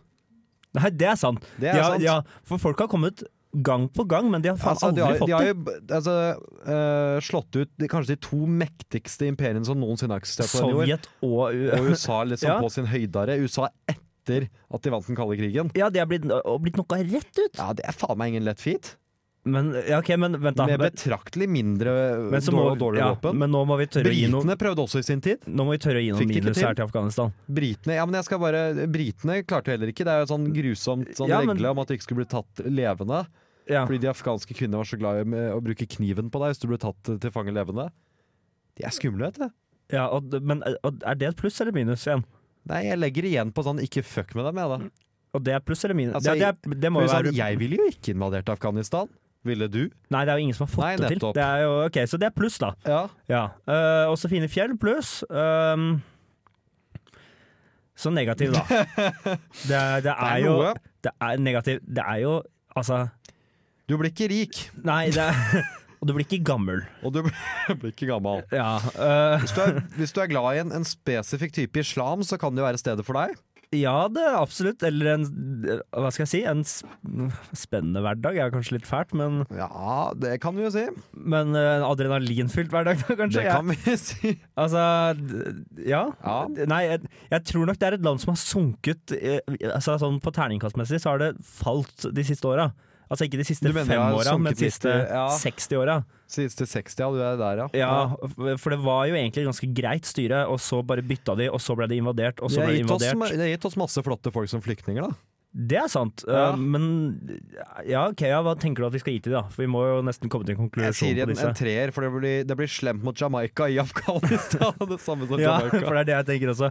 S5: Nei, det er sant.
S4: Det er
S5: ja,
S4: sant.
S5: ja, for folk har kommet gang på gang, men de har faen
S4: Altså, de
S5: aldri
S4: har,
S5: fått
S4: de har
S5: det.
S4: jo altså, eh, slått ut de, kanskje de to mektigste imperiene som noensinne har eksistert på denne jord.
S5: Sovjet og U-
S4: Og USA liksom
S5: Ja.
S4: på sin høydare. USA etter at de vant den kalde krigen.
S5: Ja, de har blitt, og blitt noe rett ut.
S4: Ja, Det er faen meg ingen lett feat.
S5: Men ja, ok, men vent, da.
S4: Med
S5: Men,
S4: betraktelig mindre
S5: men, så må,
S4: dårlig, dårligere
S5: ja,
S4: våpen.
S5: men nå må vi tørre å gi noe
S4: Britene prøvde også i sin tid.
S5: Nå må vi tørre å gi noen
S4: Fikk det ikke
S5: minus
S4: til.
S5: her til Afghanistan.
S4: Britene, ja, men jeg skal bare, britene klarte jo heller ikke. Det er jo et sånn grusomt sånn
S5: Ja, men-
S4: regle om at du ikke skulle bli tatt levende.
S5: Ja.
S4: Fordi de afghanske kvinner var så glad i med å bruke kniven på deg hvis du ble tatt eh, til fange levende. De er skumle, vet du.
S5: Ja, og, men og, er det et pluss eller minus igjen?
S4: Nei, jeg legger igjen på sånn ikke fuck med dem, jeg, da.
S5: Og det er pluss eller minus?
S4: Altså,
S5: det, det, er, det må
S4: For
S5: jo
S4: sånn,
S5: være
S4: jeg ville jo ikke invadert Afghanistan. Ville du?
S5: Nei, det er jo ingen som har fått
S4: Nei,
S5: det til.
S4: nettopp.
S5: Det er jo, ok, Så det er pluss, da.
S4: Ja.
S5: Ja. Eh, også fine fjell pluss. ehm, så negativ, da. Det, er- det er jo
S4: noe.
S5: Det er negativ Det er jo Altså,
S4: Du blir ikke rik,
S5: nei, det er Og du blir ikke gammel.
S4: og du blir ikke gammel.
S5: Ja. eh,
S4: Hvis du er, hvis du er glad i en, en spesifikk type islam, så kan det jo være stedet for deg.
S5: ja, det er absolutt. Eller en Hva skal jeg si? En sp- spennende hverdag er kanskje litt fælt, men,
S4: Ja, det kan vi jo si.
S5: men eh, en adrenalinfylt hverdag, da, kanskje?
S4: Det
S5: Ja.
S4: kan vi si.
S5: Altså, d- ja.
S4: Ja.
S5: D- Nei, jeg, jeg tror nok det er et land som har sunket eh, altså, sånn På terningkastmessig så har det falt de siste åra. Altså ikke de siste
S4: Du mener det
S5: fem
S4: har
S5: åra, men
S4: sunket
S5: de
S4: litt, eh,
S5: siste
S4: ja.
S5: 60 åra.
S4: Siste 60, ja. Du er der, ja.
S5: Ja, f- for det var jo egentlig ganske greit styre, og så bare bytta de, og så ble det invadert, og
S4: Det
S5: så
S4: har,
S5: ble det
S4: gitt oss,
S5: invadert.
S4: det har gitt oss masse flotte folk som flyktninger, da.
S5: Det er sant,
S4: Ja.
S5: eh, men ja, ok, ja, hva tenker du at vi skal gi til det? da? For vi må jo nesten komme til en
S4: Jeg
S5: konklusjon
S4: sier
S5: på
S4: en,
S5: disse.
S4: en treer, for det blir, det blir slemt mot Jamaica i Afghanistan. Det samme som
S5: Ja, for
S4: Jamaica.
S5: det er det jeg tenker også.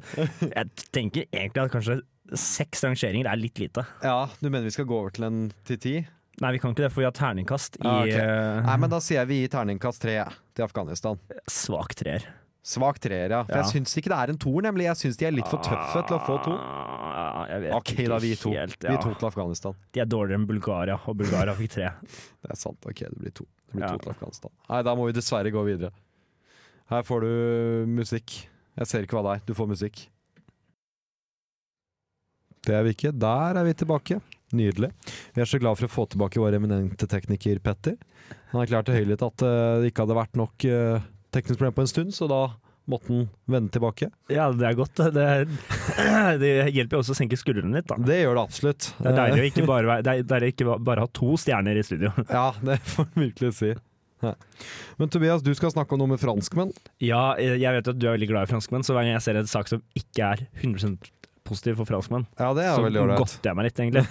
S5: Jeg tenker egentlig at kanskje seks rangeringer er litt lite.
S4: Ja, Du mener vi skal gå over til en til ti?
S5: Nei, vi kan ikke det, for vi har terningkast i
S4: Ah, ok.
S5: eh,
S4: Nei, men da sier jeg vi gir terningkast tre jeg, til Afghanistan.
S5: svak treer.
S4: Svak treer, ja. For
S5: Ja.
S4: jeg syns ikke det er en toer, nemlig. Jeg syns de er litt for tøffe til å få to.
S5: Ah, jeg vet
S4: Ok,
S5: ikke
S4: da, vi to.
S5: helt,
S4: Vi
S5: ja.
S4: to til Afghanistan.
S5: De er dårligere enn Bulgaria, og Bulgaria fikk tre.
S4: Det er sant. Ok, det blir to. Det blir
S5: Ja.
S4: to til Afghanistan. Nei, da må vi dessverre gå videre. Her får du musikk. Jeg ser ikke hva det er. Du får musikk. Det er vi ikke. Der er vi tilbake. Nydelig. Vi er så glad for å få tilbake vår eminente tekniker Petter. Han erklærte høylytt at eh, det ikke hadde vært nok eh, teknisk problem på en stund, så da måtte han vende tilbake.
S5: Ja, det er godt. Det, det hjelper jo også å senke skuldrene litt, da.
S4: Det gjør det absolutt.
S5: Det er deilig å ikke bare, være- det er, det er ikke ba- bare ha to stjerner i studio.
S4: Ja, det får man virkelig si. Ja. Men Tobias, du skal snakke om noe med franskmenn.
S5: Ja, eh, jeg vet at du er veldig glad i franskmenn, så hver gang jeg ser en sak som ikke er 100 positiv for franskmenn,
S4: Ja, det
S5: så godter jeg meg litt, egentlig.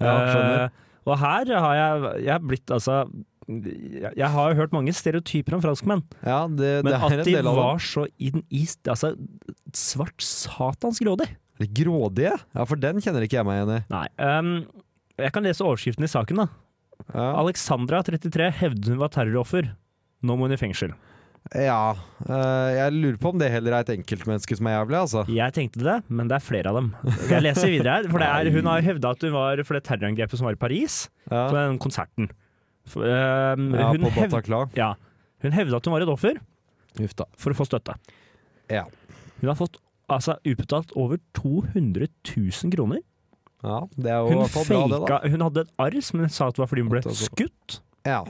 S4: Ja, skjønner.
S5: Eh, og her har jeg, jeg har blitt, altså jeg jeg har jo hørt mange stereotyper om franskmenn,
S4: Ja, det,
S5: men
S4: det er
S5: at
S4: en
S5: de
S4: del av det.
S5: var så inn i altså, svart satans grådig.
S4: Er de grådige? Ja, for den kjenner ikke jeg meg igjen i.
S5: Nei. ehm, jeg kan lese overskriften i saken, da.
S4: Ja,
S5: Alexandra, 33, hevder hun var terroroffer. Nå må hun i fengsel.
S4: ja. eh, jeg lurer på om det heller er et enkeltmenneske som er jævlig, altså.
S5: Jeg tenkte det, men det er flere av dem. Jeg leser videre her, for det er, Hun har hevda at hun var for det terrorangrepet som var i Paris, på
S4: Ja,
S5: den konserten. For, ehm,
S4: ja
S5: hun,
S4: på
S5: hevd-
S4: Bataclan.
S5: ja, hun hevda at hun var et offer
S4: Uff da.
S5: for å få støtte.
S4: Ja.
S5: Hun har fått altså, utbetalt over 200 000 kroner.
S4: ja, det er jo i
S5: Hun,
S4: hvert fall bra, det, da.
S5: faka, hun hadde et arr som hun sa at det var fordi hun ble
S4: Altså.
S5: skutt.
S4: Ja.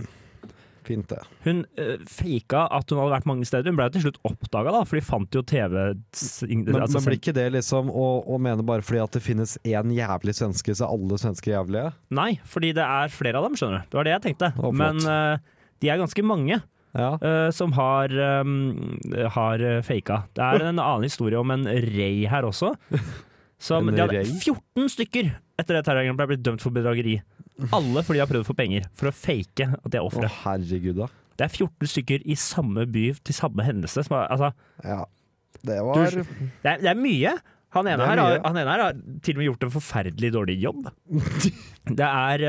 S4: Fint, det.
S5: Hun eh, faka at hun hadde vært mange steder. Hun ble til slutt oppdaga, for de fant jo TV
S4: Men,
S5: altså,
S4: men blir ikke det liksom å, å mene bare fordi at det finnes én jævlig svenske, så er alle svensker jævlige?
S5: Nei, fordi det er flere av dem, skjønner du. Det var det jeg tenkte.
S4: flott.
S5: Men eh, de er ganske mange
S4: Ja.
S5: eh, som har, eh, har eh, faka. Det er en annen historie om en rei her også. Som,
S4: En
S5: de hadde
S4: rei?
S5: 14 stykker etter det terrorangrepet ble blitt dømt for bedrageri. Alle fordi de har prøvd å få penger for å fake at de er
S4: Å,
S5: ofre.
S4: herregud, da.
S5: Det er 14 stykker i samme by til samme hendelse. Som er, altså,
S4: Ja. Det var
S5: Du- det, er, det er mye. Han ene,
S4: Det er
S5: her, har-
S4: mye.
S5: han ene her har til og med gjort en forferdelig dårlig jobb. Det er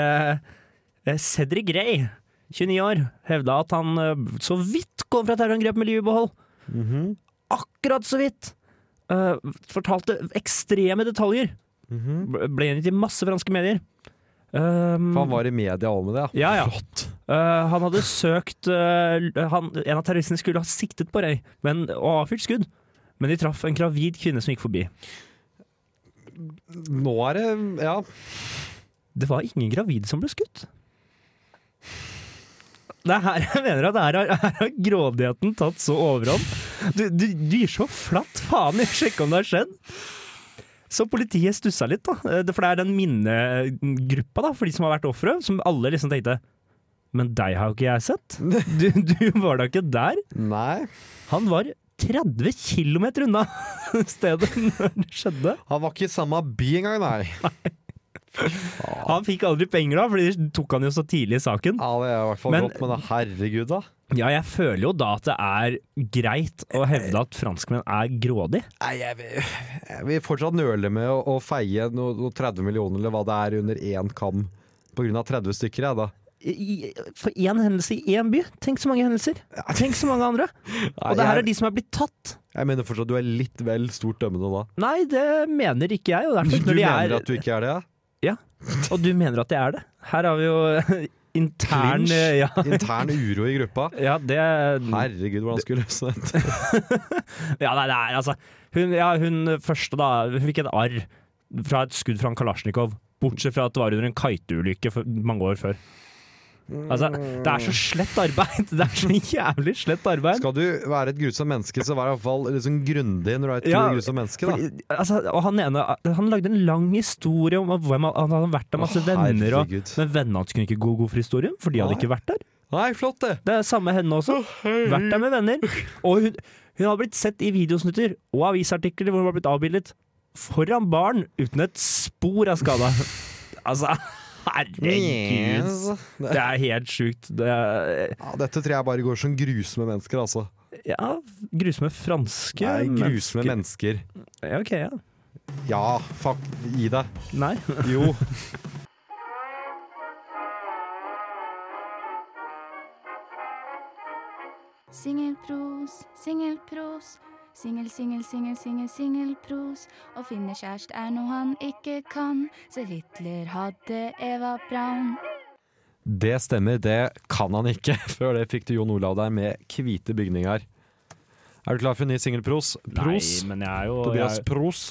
S5: eh, Cedric Gray, 29 år, hevda at han eh, så vidt kom fra terrorangrep med liv i behold.
S4: Mhm.
S5: Akkurat så vidt! Eh, fortalte ekstreme detaljer.
S4: Mhm.
S5: Ble- Ble gjengitt i masse franske medier. Um,
S4: For han var i media òg med det,
S5: Ja, ja.
S4: Flott.
S5: Eh, han hadde søkt eh, han, En av terroristene skulle ha siktet på Ray men, og avfyrt skudd, men de traff en gravid kvinne som gikk forbi.
S4: Nå er det Ja.
S5: Det var ingen gravide som ble skutt. Det er her jeg mener at her har, her har grådigheten tatt så overhånd. Du, du, du gir så flatt faen i å sjekke om det har skjedd. Så politiet stussa litt, da. Eh, det- For det er den minnegruppa da, for de som har vært ofre, som alle liksom tenkte Men deg har jo ikke jeg sett. Du, du var da ikke der.
S4: Nei.
S5: Han var 30 km unna stedet når det skjedde.
S4: Han var ikke i samme by engang, nei.
S5: Han fikk aldri penger da, for de tok han jo så tidlig i saken.
S4: Ja, det er i hvert fall
S5: Men-
S4: godt, men da, herregud, da.
S5: Ja, jeg føler jo da at det er greit å hevde at franskmenn er grådig.
S4: Nei, jeg vil, jeg vil fortsatt nøle med å, å feie noe, noe 30 millioner eller hva det er under én kam på grunn av 30 stykker, jeg, da.
S5: I- i- For én hendelse i én by. Tenk så mange hendelser. Tenk så mange andre. Og det her er
S4: jeg,
S5: de som er blitt tatt.
S4: jeg mener fortsatt du er litt vel stort dømmende da.
S5: Nei, det mener ikke jeg. Og, det er
S4: Du
S5: fordi når de
S4: mener
S5: er,
S4: at du ikke er det? ja?
S5: og du mener at jeg er det. Her har vi jo intern
S4: Clinch.
S5: eh, ja,
S4: Intern uro i gruppa?
S5: ja, det
S4: Herregud, hvordan skulle jeg løse dette?
S5: Ja, nei, det er altså Hun, ja, hun første da Hun fikk et arr fra et skudd fra en Kalasjnikov Bortsett fra at det var under en kiteulykke for- mange år før Altså, det er så slett arbeid Det er så jævlig slett arbeid
S4: Skal du være et grusomt menneske, så vær i hvert fall liksom grundig når du er et
S5: Ja,
S4: grusomt menneske, da.
S5: Fordi, altså, og han ene Han lagde en lang historie om hvem han, han hadde vært der masse
S4: Å,
S5: venner og,
S4: herregud.
S5: Men vennene hans kunne ikke gå god for historien For de hadde
S4: Nei.
S5: ikke vært der
S4: Nei, flott det!
S5: Det er samme henne også. Vært der med venner. Og hun, hun har blitt sett i videosnutter og avisartikler hvor hun har blitt avbildet foran barn uten et spor av skada. Altså, herregud. Det er helt sjukt. Det er,
S4: Ja, dette tror jeg bare går som grusomme mennesker, altså.
S5: ja, grusomme franske
S4: Nei,
S5: men-
S4: grusomme mennesker.
S5: Ja, OK, ja.
S4: Ja, fuck, gi deg.
S5: Nei.
S4: Jo.
S6: Singelpros, singelpros. Singel, singel, singel, singel, singelpros. Å finne kjæreste er noe han ikke kan, så Hitler hadde Eva Braun.
S4: Det stemmer, det kan han ikke. Før det fikk du Jon Olav der med hvite bygninger. Er du klar for en ny singelpros? Pros?
S5: Nei, men jeg er jo jeg,
S4: Tobias Pros?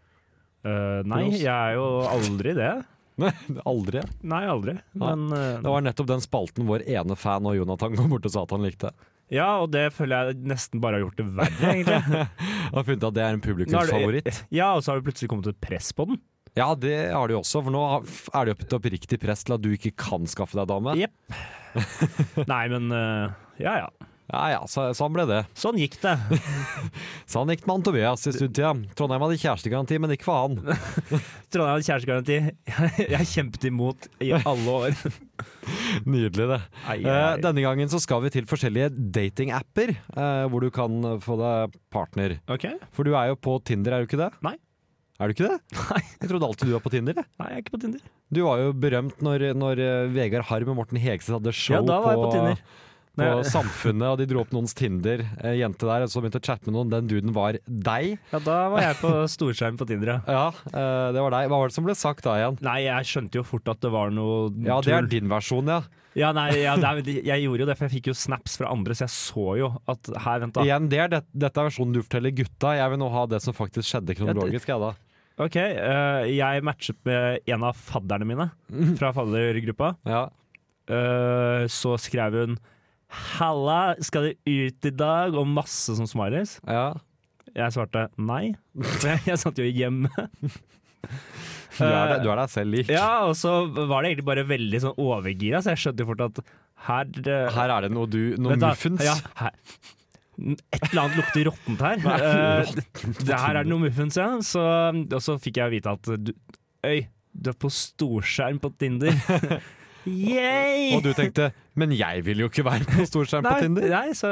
S5: øh, Nei,
S4: Pros.
S5: jeg er jo aldri det.
S4: Nei, aldri.
S5: Nei, aldri. Men øh,
S4: Det var nettopp den spalten vår ene fan og Jonathan kom bort og sa at han likte.
S5: Ja, og det føler jeg nesten bare har gjort det verre, egentlig.
S4: Han har funnet at det er en
S5: Nå er det-
S4: publikumsfavoritt.
S5: Ja, og så har det plutselig kommet et press på den.
S4: Ja, det har de også, for nå har- er det jo et oppriktig press til at du ikke kan skaffe deg dame.
S5: Jepp. Nei, men øh, ja ja.
S4: Ja ja, så, sånn ble det.
S5: Sånn gikk det.
S4: Sånn gikk det med han Tobias i studietida. Trondheim hadde kjærestegaranti, men ikke faen.
S5: Trondheim hadde kjærestegaranti. Jeg, jeg kjempet imot i alle år.
S4: Nydelig, det.
S5: Ai,
S4: Eh, denne gangen så skal vi til forskjellige datingapper eh, hvor du kan eh, få deg partner.
S5: Ok.
S4: For du er jo på Tinder, er du ikke det?
S5: Nei.
S4: Er du ikke det?
S5: Nei.
S4: Jeg trodde alltid du var på Tinder. jeg.
S5: Nei, jeg er ikke på Tinder.
S4: Du var jo berømt når, når eh, Vegard Harm og Morten Hegseth hadde show
S5: Ja, da var jeg på Tinder.
S4: på
S5: Nei, jeg-
S4: Samfunnet, og de dro opp noens Tinder. Eh, jente der som begynte å chatte med noen. Den duden var deg.
S5: Ja, da var jeg på storskjerm på Tinder, ja.
S4: Ja, eh, det var deg. Hva var det som ble sagt da igjen?
S5: Nei, jeg skjønte jo fort at det var noe
S4: Ja, det er
S5: tull.
S4: din versjon, ja.
S5: Ja, nei, ja, det er, jeg gjorde jo det, for jeg fikk jo snaps fra andre, så jeg så jo at her, vent da.
S4: Igjen, det er det, dette er versjonen du forteller gutta. Jeg vil nå ha det som faktisk skjedde kronologisk. Jeg, da.
S5: Ok, eh, jeg matchet med en av fadderne mine fra faddergruppa.
S4: Ja.
S5: Eh, så skrev hun Halla, skal du ut i dag? Og masse som smileys.
S4: Ja.
S5: Jeg svarte nei, for jeg, jeg satt jo hjemme.
S4: Du, er, deg- du er deg selv lik.
S5: Eh, Ja, og så var det egentlig bare veldig sånn overgira, så jeg skjønte jo fort at her eh,
S4: Her er det noe, du, noe
S5: Vent da.
S4: muffens.
S5: Ja, her. Et eller annet lukter råttent her. Eh, det her er det noe muffens, ja. Så, og så fikk jeg vite at du, Øy, du er på storskjerm på Tinder. Yay!
S4: Og du tenkte 'men jeg vil jo ikke være på storskjerm på
S5: nei,
S4: Tinder'.
S5: Nei, så,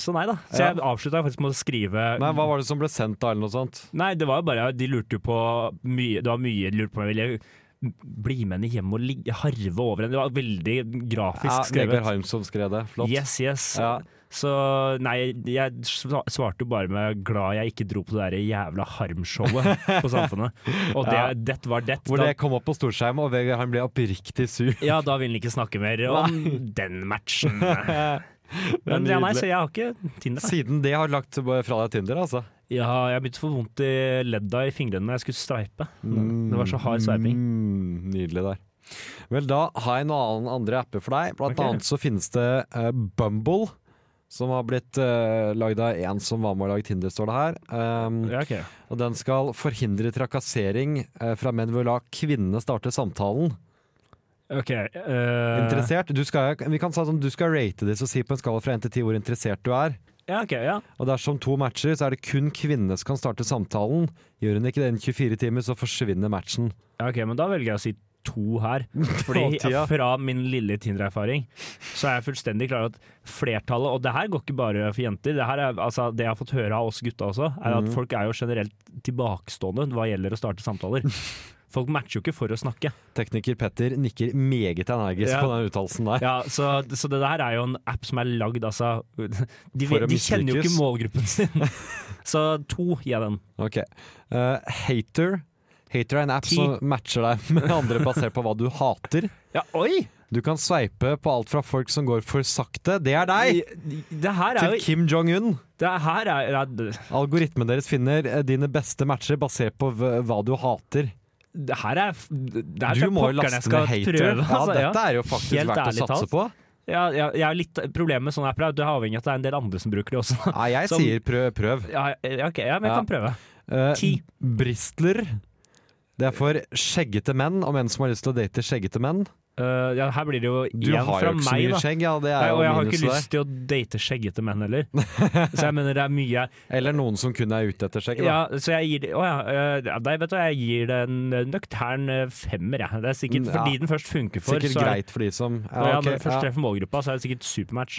S5: så nei da. Så
S4: Ja.
S5: jeg avslutta faktisk med å skrive
S4: Nei, Hva var det som ble sendt da, eller noe sånt?
S5: Nei, det var jo bare De lurte jo på mye Det var mye de lurte på. Ville jeg bli med henne hjem og ligge, harve over henne? Det var veldig
S4: Ja,
S5: grafisk
S4: Vegard
S5: skrevet.
S4: Harm som skrev det. Flott.
S5: Yes, yes.
S4: Ja.
S5: Så nei, jeg sva- svarte jo bare med glad jeg ikke dro på det der jævla harmshowet på Samfunnet. Og det,
S4: Ja.
S5: det var det.
S4: Hvor
S5: Da,
S4: det kom opp på storskjerm, og Vegard Harm ble oppriktig sur.
S5: ja, da vil han ikke snakke mer om den matchen. Men ja, nei,
S4: nydelig.
S5: så jeg har ikke Tinder. da.
S4: Siden det har lagt fra deg Tinder, altså.
S5: Jeg har jeg begynte å få vondt i ledda i fingrene når jeg skulle sveipe. Det var så hard sveiping.
S4: Mm, nydelig der. Vel, da har jeg noen annen, andre apper for deg. Blant
S5: Ok.
S4: annet så finnes det eh, Bumble, som har blitt uh, lagd av en som var med å lage Tinder, står det her. Um,
S5: Ja, ok.
S4: Og den skal forhindre trakassering eh, fra menn ved å la kvinnene starte samtalen.
S5: Ok, eh,
S4: Interessert? Du skal, vi kan si sånn, du skal rate disse og si på en skala fra 1 til 10 hvor interessert du er.
S5: Ja, ok, ja.
S4: Og dersom to matcher, så er det kun kvinnene som kan starte samtalen. Gjør hun ikke det innen 24 timer, så forsvinner matchen.
S5: Ja, Ok, men da velger jeg å si to her. Fordi
S4: Og tida.
S5: Fra min lille Tinder-erfaring så er jeg fullstendig klar over at flertallet, og det her går ikke bare for jenter, det, her er, altså, det jeg har fått høre av oss gutta også, er
S4: Mm.
S5: at folk er jo generelt tilbakestående hva gjelder å starte samtaler. Folk matcher jo ikke for å snakke.
S4: Tekniker Petter nikker meget energisk
S5: Ja.
S4: på den uttalelsen der.
S5: Ja, så, så det der er jo en app som er lagd, altså. De,
S4: For å
S5: vet- de kjenner jo ikke
S4: mislykkes.
S5: målgruppen sin. Så to gir jeg den.
S4: Ok. Eh, hater. Hater er en app
S5: Ti.
S4: som matcher deg med andre basert på hva du hater.
S5: Ja, oi!
S4: Du kan sveipe på alt fra folk som går for sakte, det er deg,
S5: Det her er
S4: til
S5: jo
S4: Kim Jong-un.
S5: Det her er, er
S4: Algoritmen deres finner eh, dine beste matcher basert på v- hva du hater.
S5: det her er det her
S4: Du
S5: tror jeg
S4: må jo
S5: pokkeren jeg
S4: laste
S5: skal
S4: ned hater.
S5: prøve, altså,
S4: ja, dette er jo faktisk
S5: Helt
S4: verdt å
S5: ærlig
S4: satse
S5: talt.
S4: på.
S5: ja, ja, jeg er litt Problemet med sånne apper er at det er avhengig av at det er en del andre som bruker det også.
S4: Nei, jeg
S5: Som-
S4: sier prøv. prøv.
S5: Ja, ja, ok, ja, men jeg
S4: Ja.
S5: kan prøve.
S4: Eh,
S5: Ti.
S4: Bristler. Det er for skjeggete menn og menn som har lyst til å date skjeggete menn.
S5: Eh, ja, her blir det jo
S4: Du
S5: én
S4: har
S5: fra
S4: jo ikke så
S5: meg,
S4: mye
S5: da.
S4: skjegg, ja, det
S5: Nei,
S4: er
S5: og jeg
S4: jo
S5: har ikke
S4: minuset der.
S5: lyst til å date skjeggete menn heller. Så jeg mener det er mye
S4: Eller noen som kun er ute etter skjegg, da.
S5: ja, Så jeg gir det Å ja. eh, Nei, vet du, hva, jeg gir det en nøktern eh, femmer, jeg. Det er sikkert
S4: Mm, Ja.
S5: fordi den først funker for.
S4: Sikkert
S5: så er,
S4: greit for de som ja,
S5: Når jeg
S4: ok,
S5: først
S4: ja.
S5: treffer målgruppa, så er det sikkert supermatch.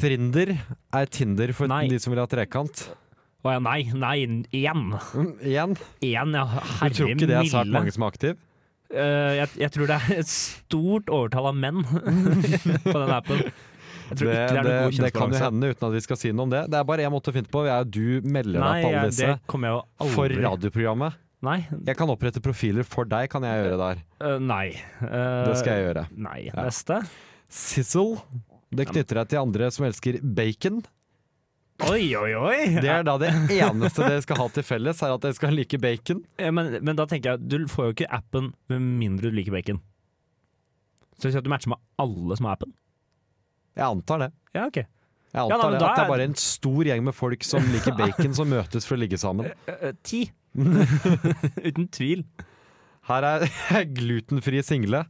S4: Thrinder er Tinder for
S5: Nei.
S4: de som vil ha trekant.
S5: Å ja, nei, nei, én.
S4: Mm, igjen,
S5: Én, ja.
S4: du tror
S5: Herre
S4: ikke det er svært
S5: milde.
S4: mange som er aktive?
S5: Eh, jeg, jeg tror det er et stort overtall av menn på den appen. Jeg tror
S4: Det,
S5: ikke det
S4: det, det
S5: er noen god
S4: kan jo
S5: kjønnsbalanse.
S4: hende uten at vi skal si noe om det. Det er bare én måte å finne på. Jeg, du melder
S5: Nei,
S4: deg på alle
S5: jeg,
S4: disse
S5: det kommer jeg jo aldri
S4: for radioprogrammet.
S5: Nei.
S4: Jeg kan opprette profiler for deg, kan jeg gjøre der.
S5: eh, nei. Eh,
S4: Det skal jeg gjøre.
S5: Nei. Neste.
S4: Sizzle. Det knytter deg til andre som elsker bacon.
S5: Oi, oi, oi!
S4: Det er da det eneste dere skal ha til felles, er at dere skal like bacon.
S5: Eh, men, men da tenker jeg du får jo ikke appen med mindre du liker bacon. Så hvis du matcher med alle som har appen?
S4: Jeg antar det.
S5: Ja, OK.
S4: Jeg
S5: Ja, da,
S4: antar
S5: men
S4: det,
S5: da
S4: At det
S5: er-
S4: er bare en stor gjeng med folk som liker bacon, som møtes for å ligge sammen.
S5: Eh, eh, Ti. Uten tvil.
S4: Her er glutenfri single.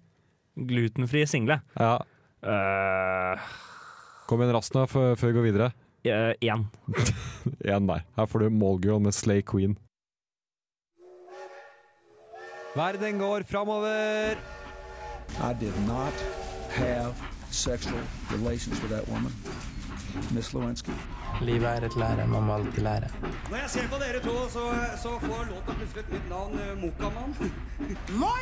S5: Glutenfrie single.
S4: Ja.
S5: Eh,
S4: Kom igjen raskt nå, før før vi går videre.
S5: eh, Én.
S4: Én der. Her får du Mallgirl med Slay Queen. Verden går framover!
S7: I did not have sexual relations with that woman, Miss Lewinsky.
S8: Livet er et lære, man må alltid lære.
S9: Når jeg ser på dere to, så, så får låta plutselig et nytt navn. eh, Mokkamann.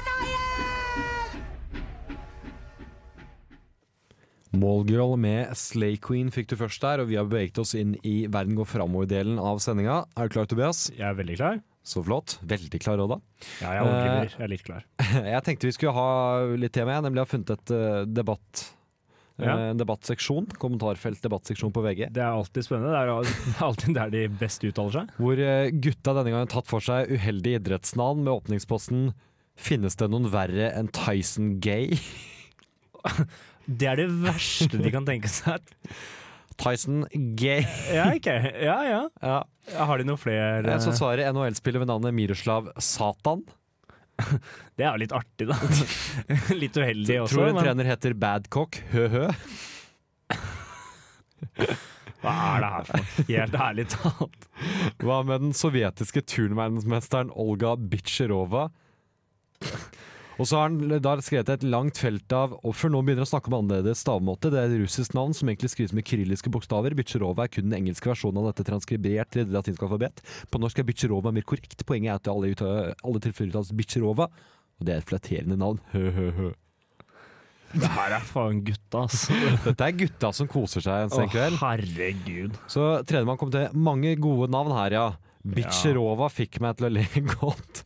S4: Mallgirl med Slay Queen fikk du først der, og vi har beveget oss inn i Verden går framover-delen av sendinga. Er du klar, Tobias?
S5: Jeg er veldig klar.
S4: Så flott. Veldig klar òg, da.
S5: Ja, jeg overdriver. Jeg er litt klar.
S4: Jeg tenkte vi skulle ha litt tema, jeg nemlig har funnet et eh, debatt.
S5: Ja.
S4: eh, En debattseksjon, kommentarfelt debattseksjon på VG,
S5: Det er alltid spennende. Det er al- alltid der de beste uttaler seg.
S4: hvor eh, gutta denne gangen har tatt for seg uheldige idrettsnavn med åpningsposten 'Finnes det noen verre enn Tyson Gay'?
S5: Det er det verste de kan tenke seg.
S4: Tyson Gay.
S5: Ja, ok. Ja, ja.
S4: Ja.
S5: Har de noen flere
S4: Eh, Så svarer NHL-spiller ved navnet Miroslav Satan.
S5: Det er jo litt artig, da. Litt uheldig også.
S4: Tror en
S5: men
S4: trener heter Badcock. Hø-hø.
S5: hva er det her for noe? Helt ærlig talt.
S4: Hva med den sovjetiske turnverdensmesteren Olga Bitsjerova? Og så har han da skrevet et langt felt av og før nå begynner å snakke om annerledes stavemåte. Det er et russisk navn som egentlig skrives med kyrilliske bokstaver. Bitsjerova er kun den engelske versjonen av dette transkribert til det latinske alfabet. På norsk er Bitsjerova mer korrekt. Poenget er at alle, utta, alle tilfeller uttales Bitsjerova, og det er et flatterende navn. Hø-hø-hø.
S5: Det her er faen gutta, altså.
S4: Dette er gutta som koser seg en
S5: Å,
S4: sen kveld.
S5: herregud.
S4: Så tredjemann kom til mange gode navn her, ja. Bitcherova fikk meg til å le godt.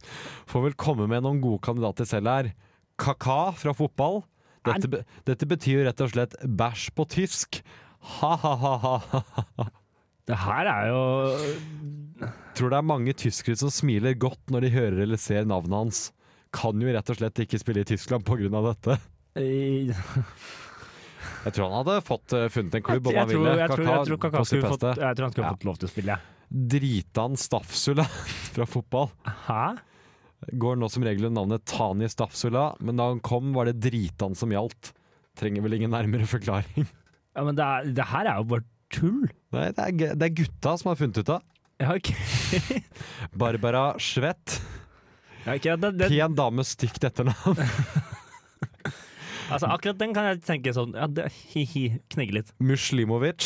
S4: Får vel komme med noen gode kandidater selv her. Kaka fra fotball. Dette, be dette betyr jo rett og slett bæsj på tysk. Ha-ha-ha.
S5: Det her er jo
S4: Tror det er mange tyskere som smiler godt når de hører eller ser navnet hans. Kan jo rett og slett ikke spille i Tyskland pga. dette.
S5: jeg,
S4: Jeg tror han hadde fått eh, funnet en
S5: jeg,
S4: klubb om han
S5: tror,
S4: ville.
S5: jeg, tror, jeg tror Kaka
S4: på sitt
S5: skulle fått,
S4: beste.
S5: jeg tror han skulle
S4: Ja.
S5: fått lov til å spille.
S4: Dritan Stafsula fra fotball.
S5: Hæ?
S4: går nå som regel under navnet Tani Stafsula, men da han kom var det dritan som gjaldt. Trenger vel ingen nærmere forklaring.
S5: Ja, men det, er, det her er jo bare tull.
S4: Nei, det er, g- det er gutta som har funnet ut av.
S5: Ja, ok.
S4: Barbara Schwett.
S5: Ja, ok, det, det,
S4: Pen dame, stygt etternavn.
S5: Altså, akkurat den kan jeg tenke sånn ja, det, Hi-hi, knegge litt.
S4: Muslimovic.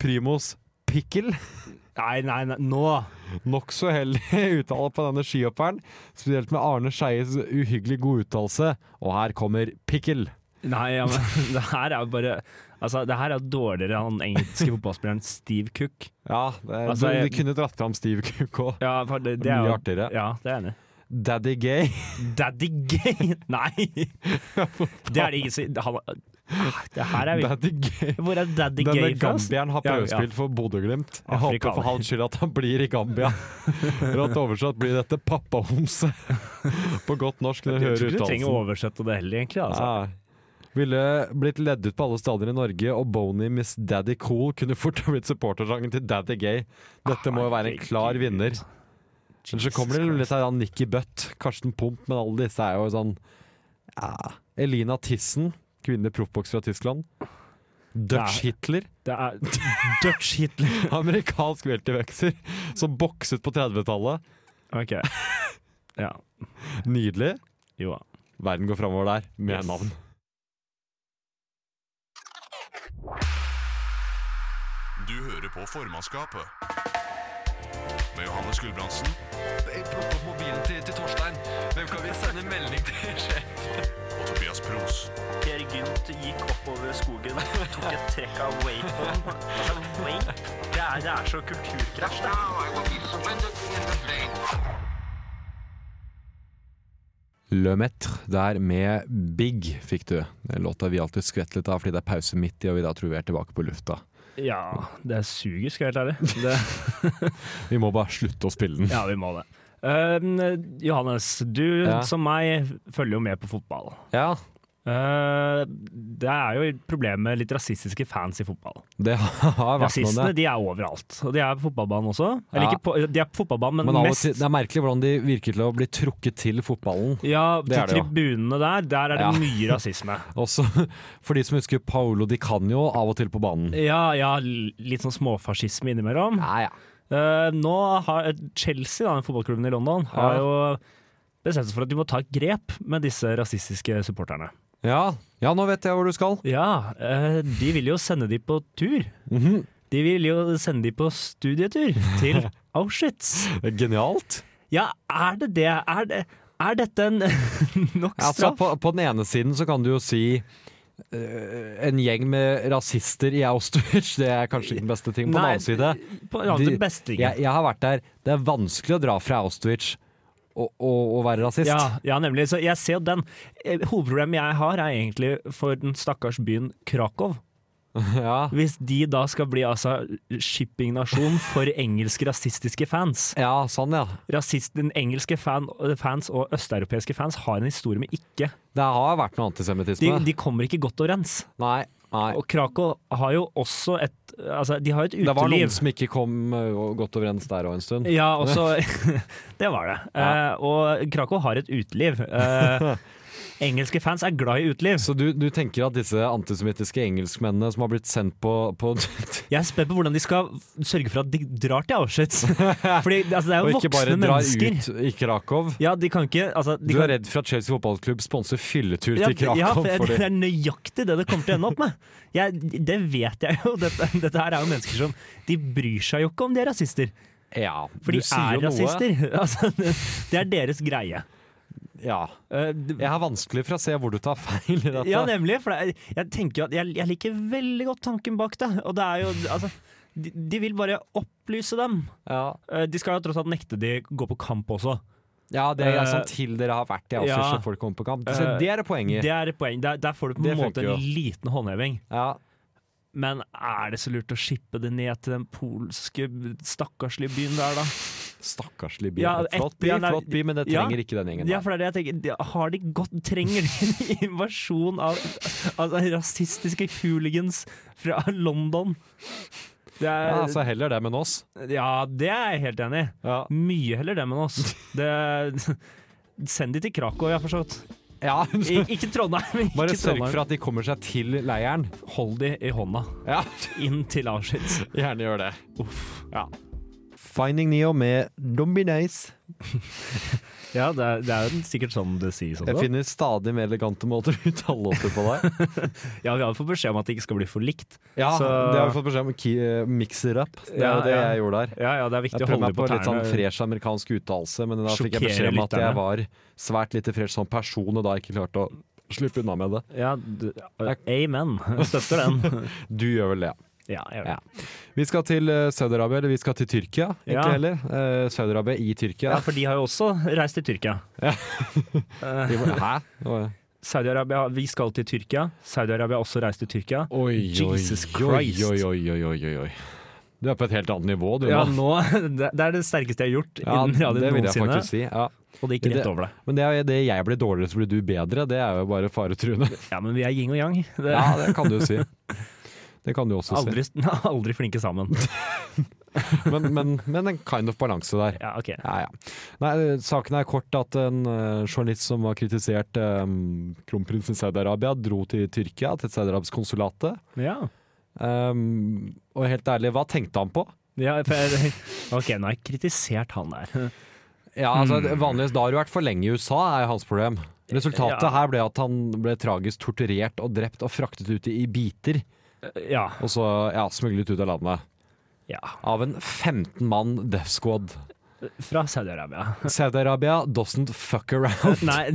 S4: Primus Pikkel.
S5: Nei, nei, nei, nå!
S4: Nokså heldig uttale på denne skihopperen, spesielt med Arne Skeies uhyggelig god uttalelse. Og her kommer Pikkel.
S5: Nei, ja, men det her er jo bare Altså, det her er jo dårligere enn han engelske fotballspilleren Steve Cook.
S4: Ja, det,
S5: Altså,
S4: du,
S5: jeg-
S4: du kunne dratt fram Steve Cook òg.
S5: Ja, for det, det er
S4: Mye
S5: jo
S4: artigere.
S5: Ja, det er jeg enig. i.
S4: Daddy Gay.
S5: Daddy Gay! Nei! Det er det ingen som han- Det her er vi
S4: Daddy Gay.
S5: Hvor er Daddy
S4: Denne
S5: Gay fra? ass?
S4: gambieren har
S5: Ja, ja.
S4: prøvespilt for Bodø-Glimt. Jeg håper
S5: Afrikaner.
S4: for hans skyld at han blir i Gambia. Rått oversatt blir dette pappahomse. På godt norsk når du
S5: Jeg
S4: hører
S5: tror ikke du trenger å
S4: uttalelsen.
S5: oversette det heller, egentlig. Altså.
S4: Ja. Ville blitt ledd ut på alle stadier i Norge, og Boney Miss Daddy
S5: Ah,
S4: Cool kunne fort ha blitt supportersangen til Daddy Gay. Dette må jo være en klar vinner. Men så kommer det litt her, han Nikki Butt, Karsten Pump, men alle disse er jo sånn ja. Elina Tissen, kvinnelig proffbokser fra Tyskland. Dutch
S5: Nei.
S4: Hitler,
S5: Det er Dutch Hitler.
S4: amerikansk veltervekser, som bokset på 30-tallet.
S5: Ok. Ja.
S4: Nydelig.
S5: Jo da.
S4: Verden går framover der, med navn.
S1: Du hører på formannskapet. Med Johannes Gulbrandsen
S2: Plukk opp mobilen til, til Torstein. Hvem kan vi sende melding til? sjef?
S1: og Tobias Pros.
S3: Per Gynt gikk oppover skogen, tok et trekk av Waypon. Altså, Wayp, det, er- det er så kulturkrasj, det.
S4: Le Maître der med Big fikk du. Den låta vi alltid skvett litt av fordi det er pause midt i, og vi da tror vi er tilbake på lufta.
S5: Ja, det suger, skal jeg være helt ærlig. Det,
S4: Vi må bare slutte å spille den.
S5: ja, vi må det. Ehm, Johannes, du
S4: Ja.
S5: som meg følger jo med på fotball.
S4: Ja,
S5: Eh, det er jo et problem med litt rasistiske fans i fotball.
S4: det har vært noe
S5: Rasistene
S4: med det.
S5: de er overalt, og de er på fotballbanen også. Eller
S4: Ja.
S5: ikke på, de er på fotballbanen, men,
S4: Men av og
S5: mest
S4: til, det er merkelig hvordan de virker til å bli trukket til fotballen.
S5: Ja,
S4: Det
S5: til
S4: er det jo.
S5: tribunene der, der er det
S4: Ja.
S5: mye rasisme.
S4: Også for de som husker Paolo Di Canio av og til på banen.
S5: Ja, ja, litt sånn småfascisme innimellom.
S4: Ja, ja.
S5: Eh, nå har Chelsea, da, den fotballklubben i London, har
S4: Ja.
S5: jo bestemt seg for at de må ta et grep med disse rasistiske supporterne.
S4: Ja, ja nå vet jeg hvor du skal.
S5: Ja, eh, de vil jo sende de på tur.
S4: Mhm.
S5: De vil jo sende de på studietur til Auschwitz.
S4: Genialt.
S5: Ja, er det det? Er, det, er dette en nok
S4: Altså,
S5: straff?
S4: på, på den ene siden så kan du jo si eh, en gjeng med rasister i Auschwitz, det er kanskje ikke den beste ting. På
S5: Nei,
S4: den annen side
S5: På en annen
S4: de-
S5: måte beste ting.
S4: jeg, jeg har vært der. Det er vanskelig å dra fra Auschwitz og, og, og være rasist.
S5: Ja, ja, nemlig. Så jeg ser jo den. Eh, Hovedproblemet jeg har, er egentlig for den stakkars byen Krakow.
S4: Ja.
S5: Hvis de da skal bli altså shippingnasjon for engelske rasistiske fans.
S4: ja, sånn ja.
S5: Rasist, den engelske fan, fans og østeuropeiske fans har en historie med ikke.
S4: Det har vært noe
S5: De,
S4: antisemittisme.
S5: de kommer ikke godt overens.
S4: Nei, nei.
S5: Og Krakow har jo også et Altså, de har jo et
S4: Det var noen
S5: uteliv.
S4: som ikke kom eh, godt overens der òg en stund.
S5: Ja, og så Det var det.
S4: Ja.
S5: Eh, og Krakow har et uteliv. Eh, engelske fans er glad i uteliv.
S4: Så du, du tenker at disse antisemittiske engelskmennene som har blitt sendt på, på
S5: Jeg er spent på hvordan de skal f- sørge for at de drar til Auschwitz. Fordi altså, det er
S4: Og
S5: jo
S4: ikke bare
S5: voksne
S4: drar
S5: mennesker.
S4: ut i Krakow
S5: Ja, de kan ikke altså, de
S4: Du
S5: kan,
S4: er redd for at Chelsea fotballklubb sponser fylletur
S5: ja,
S4: til Krakow?
S5: ja, for
S4: fordi-
S5: det er nøyaktig det det kommer til å ende opp med. Jeg, det vet jeg jo. Dette, dette her er jo mennesker som De bryr seg jo ikke om de er rasister.
S4: ja,
S5: For
S4: du
S5: de
S4: sier jo
S5: er
S4: noe.
S5: rasister. Altså, det, det er deres greie.
S4: Ja.
S5: Eh, d-
S4: Jeg har vanskelig for å se hvor du tar feil i dette.
S5: Ja, nemlig. For det er, jeg tenker jo at jeg, jeg liker veldig godt tanken bak det. Og det er jo Altså, de, de vil bare opplyse dem.
S4: ja.
S5: Eh, De skal jo tross alt nekte de gå på kamp også.
S4: ja, det er
S5: Eh,
S4: sånn til dere har vært i Auschwitz
S5: ja.
S4: og folk kommer på kamp. Så
S5: Eh,
S4: det er det poenget.
S5: Det er et poeng. Der, der får du på
S4: Det
S5: en måte
S4: funker jo.
S5: en liten håndheving.
S4: Ja.
S5: Men er det så lurt å shippe det ned til den polske stakkarslige byen der, da?
S4: Stakkarslig by.
S5: Ja,
S4: flott
S5: et-
S4: by,
S5: ja, nei,
S4: flott by, men det
S5: ja.
S4: trenger ikke den gjengen
S5: Ja,
S4: der.
S5: for det er det jeg tenker. De- Har de godt Trenger de en invasjon av, av rasistiske hooligans fra London? Det er,
S4: Ja, så heller det, men oss.
S5: ja, det er jeg helt enig i.
S4: Ja.
S5: Mye heller dem enn oss. Det, send de til Krakow, jeg har forstått.
S4: Ja.
S5: I, ikke Trondheim. Ikke
S4: Bare sørg
S5: Trondheim.
S4: for at de kommer seg til leiren.
S5: Hold de i hånda.
S4: Ja,
S5: Inn til Auschwitz.
S4: gjerne gjør det.
S5: Uff.
S4: Finding Neo med Dombinace.
S5: Ja, det er, det er jo sikkert sånn det sies
S4: Jeg
S5: også.
S4: finner stadig mer elegante måter å uttale låter på deg.
S5: Ja, vi har fått beskjed om at det ikke skal bli for likt.
S4: Ja,
S5: Så-
S4: det har vi fått beskjed om. Ki- eh, Mix it up. Det er
S5: Ja,
S4: jo det
S5: ja.
S4: jeg gjorde der.
S5: Ja, ja, det er viktig
S4: Jeg
S5: å
S4: prøvde
S5: holde
S4: meg
S5: de på
S4: på litt sånn
S5: tærne.
S4: fresh amerikansk uttalelse, men da fikk jeg
S5: Sjokkere
S4: beskjed om at
S5: lytterne.
S4: jeg var svært lite fresh som person, og da ikke klarte å slippe unna med det.
S5: Ja, d- amen. Støtter den.
S4: Du gjør vel det.
S5: Ja, jeg gjør det.
S4: Vi skal til eh, Saudi-Arabia, eller vi skal til Tyrkia, egentlig
S5: Ja.
S4: heller. Eh, Saudi-Arabia i
S5: ja,
S4: Tyrkia.
S5: for de har jo også reist til Tyrkia.
S4: Vi må- Hæ? Oi,
S5: Saudi-Arabia, vi skal til Tyrkia. Saudi-Arabia har også reist til Tyrkia.
S4: oi,
S5: Jesus
S4: oi,
S5: Christ.
S4: oi, oi, oi, oi, oi, oi. Du er på et helt annet nivå, du
S5: Ja,
S4: nå.
S5: nå, det det er det sterkeste jeg har gjort
S4: Ja,
S5: innen
S4: det
S5: radioen
S4: vil jeg
S5: noensinne.
S4: faktisk si. Ja.
S5: Og det gikk
S4: Det-
S5: rett over det.
S4: Men det, er- det jeg blir dårligere, så blir du bedre. Det er jo bare faretruende.
S5: Ja, men vi er yin og yang. Det
S4: Ja, det kan du jo si. Det kan du også si.
S5: aldri, aldri flinke sammen.
S4: men, men, men en kind of balanse der.
S5: Ja, ok.
S4: Ja, ja. Nei, saken er kort at en eh, journalist som har kritisert um, kronprinsen Saudi-Arabia, dro til Tyrkia, til Saudi-Arabias konsulate.
S5: Ja.
S4: Ehm, og helt ærlig, hva tenkte han på?
S5: ja for jeg, ok, nå har jeg kritisert han der.
S4: Ja, altså,
S5: Mm.
S4: Vanligvis da har du vært for lenge i USA, er jo hans problem. Resultatet
S5: Ja.
S4: her ble at han ble tragisk torturert og drept og fraktet ut i biter,
S5: Ja.
S4: og så ja, smuglet ut av landet.
S5: ja.
S4: Av en 15 mann death squad.
S5: Fra Saudi-Arabia.
S4: Saudi-Arabia doesn't fuck around.
S5: Nei,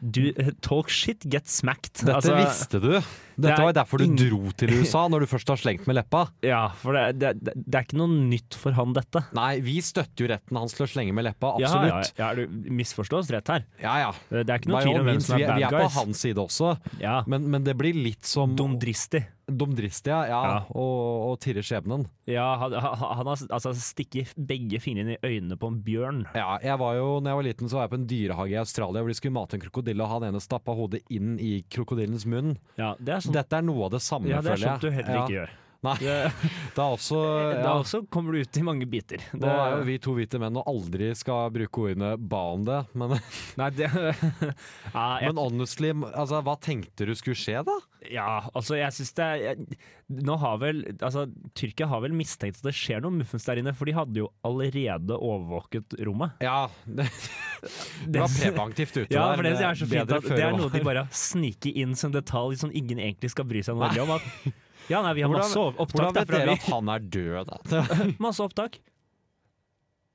S5: du Talk shit, get smacked.
S4: Dette
S5: Altså,
S4: visste du.
S5: det
S4: Dette
S5: er
S4: var derfor du
S5: ing-
S4: dro til USA, når du først har slengt med leppa.
S5: Ja, for det, det, det- det er ikke noe nytt for han, dette.
S4: Nei, vi støtter jo retten hans til å slenge med leppa,
S5: Ja,
S4: absolutt.
S5: ja, ja, du misforstår oss rett her.
S4: Ja, ja.
S5: Det er ikke noe
S4: By
S5: tvil
S4: all
S5: om hvem
S4: means,
S5: som
S4: vi,
S5: er
S4: er, vi
S5: bad
S4: er på
S5: guys.
S4: hans side også,
S5: Ja,
S4: men, men det blir litt som
S5: Dumdristig.
S4: Dumdristig, ja. ja.
S5: Ja.
S4: Og, og tirre skjebnen.
S5: Ja, han, han han har altså, stikket begge fingrene i øynene på en bjørn.
S4: Ja, jeg var jo, når jeg var liten, så var jeg på en dyrehage i Australia hvor de skulle mate en krokodille, og han ene stappa hodet inn i krokodillens munn.
S5: Ja, det er sånn,
S4: Dette er noe av det samme,
S5: ja, det er
S4: føler
S5: sånt du
S4: jeg.
S5: heller ikke gjør.
S4: Nei,
S5: Det,
S4: det er også
S5: Da
S4: ja.
S5: også kommer du ut i mange biter. Det,
S4: Nå er jo vi to hvite menn og aldri skal bruke ordene 'ba om det', men,
S5: Nei, det ja, jeg,
S4: men honestly, altså, hva tenkte du skulle skje, da?
S5: ja, altså, jeg syns det er jeg, Nå har vel Altså, Tyrkia har vel mistenkt at det skjer noe muffens der inne, for de hadde jo allerede overvåket rommet.
S4: Ja, det, det var preventivt ute
S5: Ja,
S4: der.
S5: for det
S4: men
S5: er så fint
S4: bedre
S5: at
S4: før
S5: det er
S4: var.
S5: noe de bare sniker inn som detalj som ingen egentlig skal bry seg noe veldig om. At, ja, nei, vi har masse
S4: Hvordan,
S5: opptak
S4: hvordan vet
S5: derfra,
S4: dere at
S5: vi.
S4: han er død, da?
S5: Masse opptak.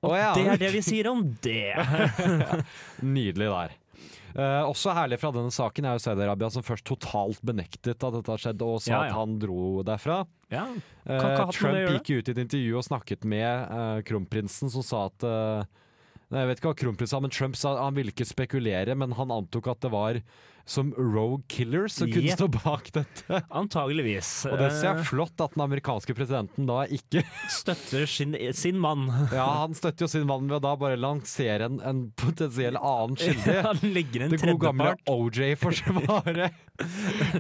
S4: Å ja.
S5: Det er det vi sier om det.
S4: Nydelig der. Eh, også herlig fra denne saken er jo Saudi-Arabia som først totalt benektet at dette har skjedd, og sa
S5: Ja, ja.
S4: at han dro derfra.
S5: Ja,
S4: Eh,
S5: Kan ikke ha hatt noe
S4: Trump
S5: med å gjøre.
S4: gikk ut i et intervju og snakket med eh, kronprinsen, som sa at eh, Nei, jeg vet ikke hva kronprinsen sa, men Trump sa han ville ikke spekulere, men han antok at det var som rogue killers som kunne
S5: Yep.
S4: stå bak dette.
S5: antageligvis.
S4: Og det ser jeg flott at den amerikanske presidenten da ikke
S5: Eh, Støtter sin, sin mann.
S4: Ja, han støtter jo sin mann ved å da bare lansere en, en potensiell annen skyldig.
S5: Han legger en
S4: Det gode gamle
S5: tredjepart.
S4: OJ-forsvaret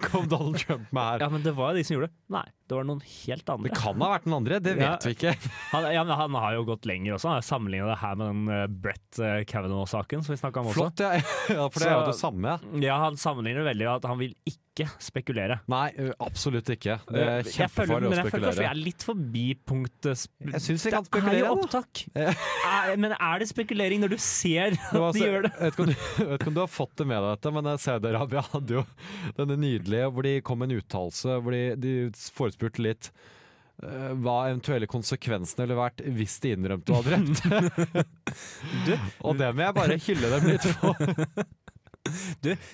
S4: kom Donald Trump med
S5: Ja,
S4: her.
S5: men det var jo de som gjorde det. Nei, det var noen helt
S4: Det
S5: andre.
S4: kan ha vært den andre, det
S5: Ja.
S4: vet vi ikke.
S5: Han, ja, men han har jo gått lenger også. Han har sammenligna det her med den eh, Brett eh, Kavanaugh-saken som vi snakka om også.
S4: Flott, ja. ja for det er jo det samme.
S5: Ja, han sammenligner veldig at han vil ikke spekulere.
S4: Nei, ø, absolutt ikke. Det er
S5: Jeg føler-
S4: kjempefarlig
S5: men
S4: å
S5: jeg føler kanskje Vi
S4: spekulere.
S5: er litt forbi punktet sp-
S4: Jeg syns vi kan
S5: Det er
S4: spekulere,
S5: jo
S4: da.
S5: opptak! Er, men er det spekulering når du ser at
S4: Det var
S5: de
S4: altså-
S5: gjør det?
S4: Jeg vet, ikke om du, jeg vet ikke om du har fått det med deg dette, men eh, Saudi-Arabia hadde jo denne nydelige hvor de kom med en uttalelse hvor de, de forespurte litt eh, hva eventuelle konsekvensene ville vært hvis de innrømte å ha drept. Og det må jeg bare hylle dem litt for.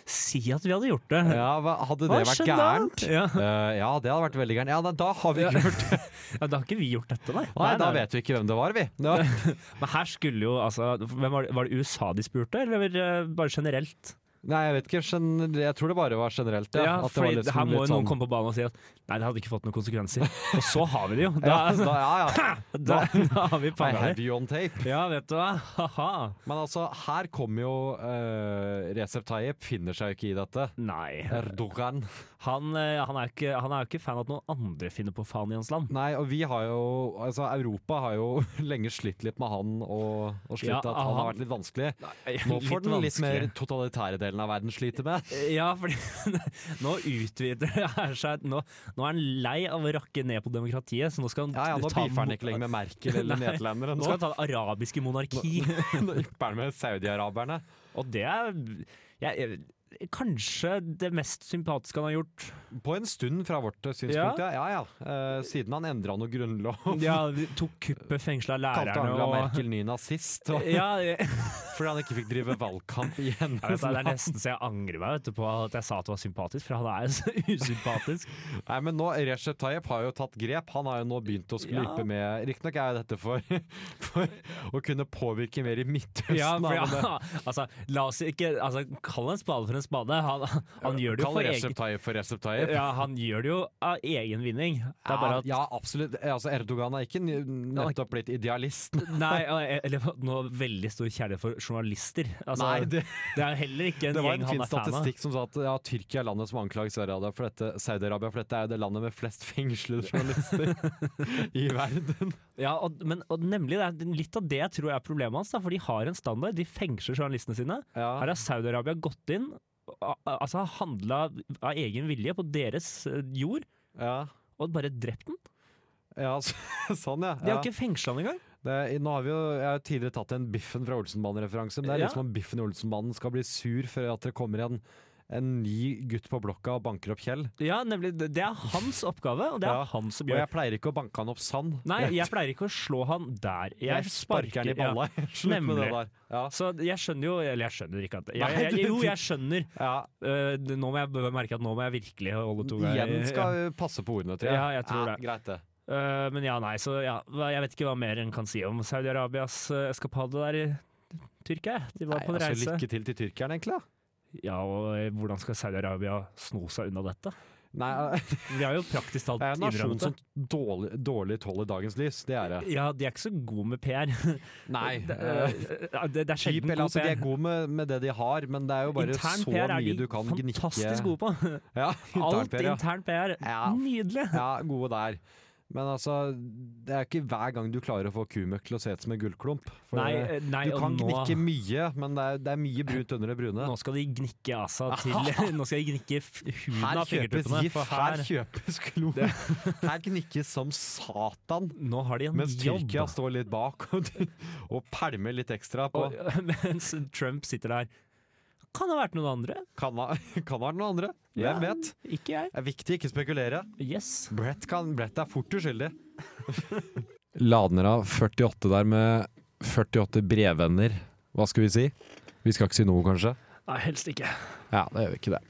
S5: Si at vi hadde gjort det!
S4: Ja, hva, hadde det
S5: Hva
S4: vært
S5: skjedde da?
S4: gærent?
S5: Ja.
S4: Eh, ja, det hadde vært veldig gærent. Ja, nei, da har vi ikke hørt det.
S5: Ja, da har ikke vi gjort dette, nei.
S4: Nei, da vet vi ikke hvem det var, vi. Det var,
S5: Men her skulle jo altså hvem var, det, var det USA de spurte, eller eh, bare generelt?
S4: nei, jeg vet ikke. gen- Jeg tror det bare var generelt. Ja, at det var
S5: fordi
S4: liksom
S5: Her må
S4: litt
S5: jo noen
S4: sånn-
S5: komme på banen og si at nei, det hadde ikke fått noen konsekvenser. Og så har vi det jo! Da,
S4: ja, da, ja, ja.
S5: da, da har vi
S4: I
S5: panga
S4: have
S5: det.
S4: you on tape.
S5: Ja, vet du hva. Ha-ha.
S4: Men altså, her kommer jo uh, Recep Tayyip finner seg jo ikke i dette.
S5: Nei.
S4: Erdogan.
S5: Han, eh, han, er ikke, han er jo ikke fan av at noen andre finner på faen i hans land.
S4: Nei, og vi har jo Altså, Europa har jo lenge slitt litt med han, og, og slitt
S5: Ja,
S4: at han har
S5: han-
S4: vært litt vanskelig. Nå får den litt mer totalitære delen av verden slite med.
S5: Eh, Ja, fordi nå utvider han seg nå, nå er han lei av å rakke ned på demokratiet, så nå skal han
S4: Ja, ja, nå
S5: ta
S4: beefer han ikke lenger med Merkel eller
S5: Nei.
S4: nederlendere.
S5: Nå
S4: Nå,
S5: skal han ta det arabiske monarki.
S4: nå ypper han med saudi-araberne.
S5: Og det er jeg, jeg, kanskje det mest sympatiske han har gjort.
S4: På en stund fra vårt eh, synspunkt, ja. ja, ja. Eh, siden han endra noe grunnlov.
S5: Ja, de tok kuppet, fengsla
S4: Kalte
S5: lærerne
S4: Angela
S5: og
S4: Merkel ny nazist og,
S5: ja, jeg, jeg,
S4: fordi han ikke fikk drive valgkamp i hennes
S5: vet, det er nesten så jeg angrer meg vet du, på at jeg sa at det var sympatisk, for han er jo så usympatisk.
S4: Nei, men nå, Recep Tayyip har jo tatt grep. Han har jo nå begynt å skulle
S5: Ja.
S4: yppe med Riktignok er jo dette for, for å kunne påvirke mer i Midtøsten.
S5: Ja, for,
S4: da, men det-
S5: ja, altså, la oss ikke altså, Kall en spade for en en spade. Han, han gjør det jo
S4: Kall
S5: for
S4: Recep
S5: egen
S4: Tayyip for Recep Tayyip.
S5: ja, han gjør det jo av egen vinning. Det er bare at
S4: ja, absolutt. Altså, Erdogan er ikke n- nettopp blitt idealist.
S5: Nei, eller noe veldig stor kjærlighet for journalister. Altså,
S4: Nei,
S5: det,
S4: det,
S5: er heller ikke en
S4: det var
S5: gjeng
S4: en
S5: han
S4: fin
S5: er fan av.
S4: statistikk som sa at ja, Tyrkia er landet som anklager Saudi-Arabia for dette, Saudi-Arabia for dette er jo det landet med flest fengslede journalister i verden.
S5: Ja, og, men, og nemlig, det er litt av det jeg tror er problemet hans. Da, for de har en standard, de fengsler journalistene sine.
S4: Ja.
S5: Her har Saudi-Arabia gått inn, a- a- altså handla av egen vilje på deres eh, jord,
S4: Ja,
S5: og bare drept den.
S4: ja så, sånn, ja.
S5: De har
S4: ja.
S5: ikke fengsla den engang.
S4: Det, nå har vi jo, jeg har jo tidligere tatt en Biffen fra Olsenbanen-referanse, men det er
S5: Ja.
S4: litt som om Biffen i Olsenbanen skal bli sur før at det kommer en, en ny gutt på blokka og banker opp Kjell.
S5: Ja, nemlig, det det er hans oppgave, og det er
S4: Ja,
S5: han som
S4: Og
S5: gjør
S4: jeg pleier ikke å banke han opp sand.
S5: Nei, jeg pleier ikke å slå han der.
S4: Jeg sparker han i balla.
S5: Ja.
S4: Slutt med det
S5: Nemlig.
S4: der. Ja.
S5: Så jeg skjønner jo Eller jeg skjønner ikke at jeg,
S4: Nei,
S5: jeg,
S4: du-
S5: Jo, jeg skjønner.
S4: Ja.
S5: Øh, det- nå må jeg b- merke at nå må jeg virkelig holde to
S4: Igjen skal vi passe på ordene, tror jeg.
S5: Ja, jeg tror det.
S4: Greit, det.
S5: Øh, Men ja, nei, så ja. hva- Jeg vet ikke hva mer en kan si om Saudi-Arabias øh, eskapade der i Tyrkia. De var
S4: Nei,
S5: på en
S4: altså,
S5: reise.
S4: lykke til til tyrkeren, egentlig. da.
S5: Ja, og øh, hvordan skal Saudi-Arabia sno seg unna dette?
S4: Nei,
S5: Vi har jo praktisk talt
S4: det er en nasjon
S5: innrømmet
S4: som
S5: det.
S4: dårlig, dårlig tåler dagens lys. Det er det.
S5: Ja, de er ikke så gode med PR.
S4: Nei.
S5: Det, øh, det, det er
S4: Typ,
S5: sjelden
S4: eller,
S5: god
S4: altså, de er
S5: PR.
S4: gode med, med det de har, men det er jo bare
S5: Intern
S4: så
S5: PR er
S4: mye
S5: de
S4: du kan gnikke
S5: fantastisk gode på.
S4: Ja, intern
S5: Alt
S4: PR, ja.
S5: intern PR.
S4: Ja.
S5: Nydelig!
S4: ja, gode der. Men altså, det er ikke hver gang du klarer å få kumøkk til å se ut som en gullklump. For
S5: Nei,
S4: det-
S5: eh, nei,
S4: du
S5: og
S4: kan
S5: nå-
S4: gnikke mye, men det er, det er mye brunt under det brune.
S5: Nå skal de gnikke av seg til Nå skal de gnikke f- huden
S4: Her
S5: av
S4: kjøpes
S5: fingertuppene.
S4: gift,
S5: for
S4: her kjøpes klo. Her gnikkes som satan.
S5: nå har de en
S4: Mens
S5: jobb.
S4: Tyrkia står litt bak og, og pælmer litt ekstra på
S5: Og, mens Trump sitter der. Kan det ha vært noen andre?
S4: Kan ha kan ha den andre? Hvem
S5: Ja,
S4: vet?
S5: Ikke jeg.
S4: Det er viktig ikke spekulere.
S5: Yes.
S4: Brett, kan, Brett er fort uskyldig. Lader av 48 der med 48 brevvenner. Hva skal vi si? Vi skal ikke si noe, kanskje?
S5: Nei, helst ikke.
S4: Ja, det gjør vi ikke det.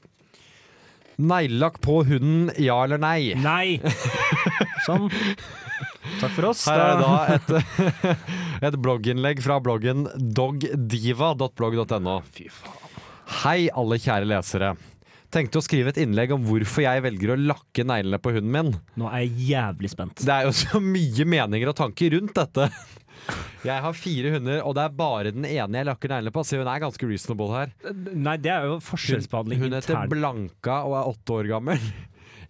S4: Neglelakk på hunden, ja eller nei?
S5: Nei! Sånn. Takk for oss.
S4: Her er da et, et blogginnlegg fra bloggen dogdiva.blogg.no.
S5: Fy faen.
S4: Hei, alle kjære lesere. Tenkte å skrive et innlegg om hvorfor jeg velger å lakke neglene på hunden min.
S5: Nå er jeg jævlig spent.
S4: Det er jo så mye meninger og tanker rundt dette. Jeg har fire hunder, og det er bare den ene jeg lakker neglene på. Se, hun er ganske reasonable her.
S5: Nei, det er jo
S4: Hun,
S5: forskjellsbehandling
S4: hun heter
S5: internt.
S4: Blanka og er åtte år gammel.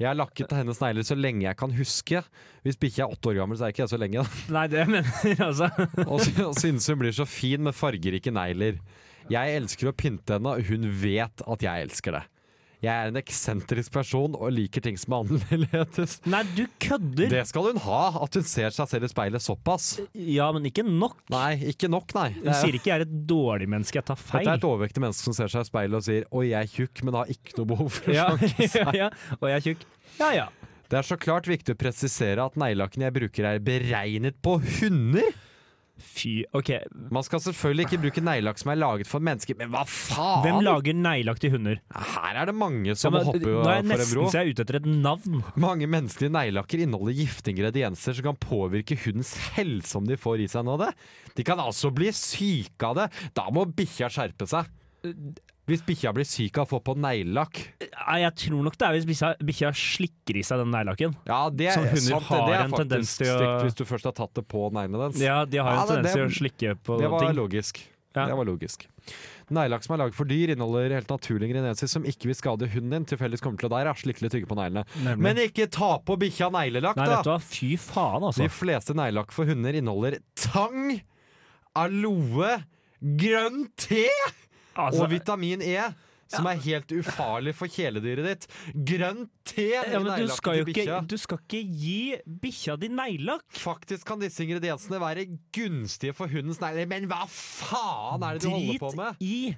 S4: Jeg har lakket negler snegler så lenge jeg kan huske. Hvis bikkja er åtte år gammel, så er ikke jeg så lenge.
S5: Nei, det jeg mener altså.
S4: Og sy- og synes hun blir så fin med fargerike negler. Jeg elsker å pynte henne, og hun vet at jeg elsker det. Jeg er en eksentrisk person og liker ting som er annerledes.
S5: Nei, du kødder!
S4: Det skal hun ha, at hun ser seg selv i speilet såpass.
S5: Ja, men ikke nok.
S4: Nei, ikke nok, nei. Det
S5: Hun
S4: er,
S5: sier ikke 'jeg er et dårlig menneske', jeg tar feil.
S4: dette er et overvektig menneske som ser seg i speilet og sier 'oi, jeg er tjukk, men har ikke noe behov for å
S5: ja,
S4: slanke
S5: ja, ja. Og jeg er tjukk. Ja ja.
S4: Det er så klart viktig å presisere at neglelakken jeg bruker er beregnet på hunder.
S5: Fy, ok.
S4: Man skal selvfølgelig ikke bruke neglelakk som er laget for mennesker, men hva faen?
S5: Hvem lager neglelaktige hunder?
S4: Her er det mange
S5: Ja,
S4: som
S5: men,
S4: hopper
S5: nå
S4: for en
S5: er jeg
S4: bro.
S5: nesten så jeg er ute etter et navn.
S4: Mange menneskelige neglelakker inneholder giftige ingredienser som kan påvirke hundens helse om de får i seg noe av det. De kan altså bli syke av det. Da må bikkja skjerpe seg. Hvis bikkja blir syk av å få på neglelakk
S5: Nei, jeg tror nok det er hvis bikkja- bikkja slikker i seg den neglelakken.
S4: Ja, det
S5: Som
S4: er
S5: hunder
S4: sant.
S5: har
S4: Det er
S5: en
S4: faktisk
S5: tendens til å-
S4: stygt hvis du først har tatt det på neglene dens.
S5: Ja, de har jo
S4: Ja,
S5: en
S4: det-
S5: tendens til å
S4: det-
S5: slikke på
S4: Det var
S5: ting.
S4: logisk.
S5: Ja.
S4: Det var logisk. Neglelakk som er laget for dyr, inneholder helt naturlige ingredienser som ikke vil skade hunden din. Tilfeldigvis kommer til å der, ja, slikke litt tygge på neglene.
S5: Nemlig.
S4: Men ikke ta på bikkja neglelakk,
S5: Nei, vet du
S4: da!
S5: hva, fy faen, altså.
S4: De fleste neglelakk for hunder inneholder tang, aloe, grønn te
S5: altså
S4: og vitamin E. Som er helt ufarlig for kjæledyret ditt. Grønn te
S5: ja,
S4: i
S5: men du
S4: neglelakken
S5: skal jo
S4: til bikkja.
S5: ikke, du skal ikke gi bikkja di neglelakk!
S4: Faktisk kan disse ingrediensene være gunstige for hundens negler, men hva faen er det du holder på med?
S5: Drit i!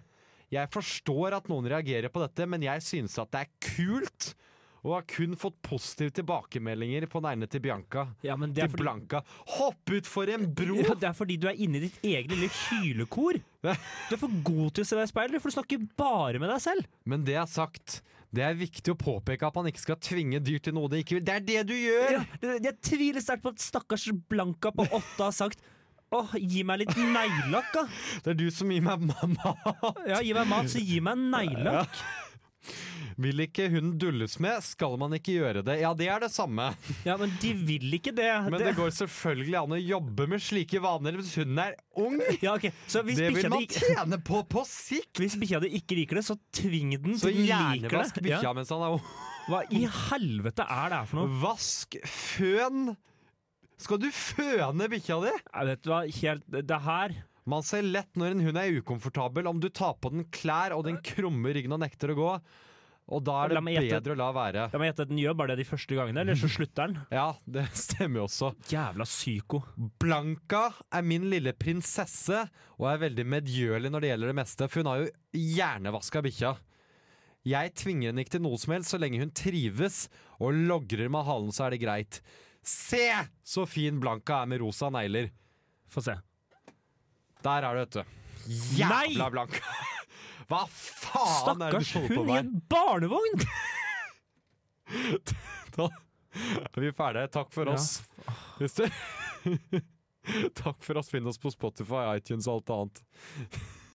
S4: Jeg forstår at noen reagerer på dette, men jeg synes at det er kult. Og har kun fått positive tilbakemeldinger på neglene til Bianca.
S5: Ja, men det er
S4: til
S5: fordi,
S4: Blanca. Hopp ut for en bro!
S5: ja, det er fordi du er inne i ditt eget lille hylekor. Du er for god til å se deg i speilet, for du snakker bare med deg selv.
S4: Men det er sagt. Det er viktig å påpeke at man ikke skal tvinge dyr til noe de ikke vil. Det er det du gjør!
S5: Ja, jeg tviler sterkt på at stakkars Blanka på åtte har sagt Åh, gi meg litt neglelakk, da!
S4: Det er du som gir meg mamma.
S5: Ja, gi meg mat, så gi meg neglelakk!
S4: Vil ikke hun dulles med, skal man ikke gjøre det. Ja, det er det samme.
S5: Ja, men de vil ikke det.
S4: Men det,
S5: det
S4: går selvfølgelig an å jobbe med slike vaner hvis hun er ung.
S5: ja, ok. Så hvis
S4: Det vil
S5: bikkja
S4: man
S5: di ikke-
S4: tjene på på sikt!
S5: hvis bikkja di ikke liker det, så tving den
S4: Så
S5: til den liker
S4: hjernevask
S5: det.
S4: bikkja
S5: Ja.
S4: mens han er ung.
S5: Hva i helvete er det her for noe?
S4: Vask føn! Skal du føne bikkja di?
S5: Jeg vet du hva, helt Det her
S4: Man ser lett når en hund er ukomfortabel om du tar på den klær og den krummer ryggen og nekter å gå. Og da er
S5: La
S4: det
S5: meg gjette.
S4: bedre å la være.
S5: La meg gjette at den gjør bare det de første gangene, eller så slutter den.
S4: Ja, det stemmer jo også.
S5: Jævla psyko.
S4: Blanca er min lille prinsesse og er veldig medgjørlig når det gjelder det meste, for hun har jo hjernevaska bikkja. Jeg tvinger henne ikke til noe som helst så lenge hun trives og logrer med halen, så er det greit. Se så fin Blanca er med rosa negler!
S5: Få se.
S4: Der er det, vet du. Jævla
S5: Nei!
S4: Blanca! Hva faen er det du holder
S5: Stakkars
S4: på
S5: hund i
S4: med?
S5: en barnevogn!
S4: Da er vi ferdige. Takk for
S5: Ja.
S4: oss. Hvis du Takk for oss. Finn oss på Spotify, iTunes og alt annet.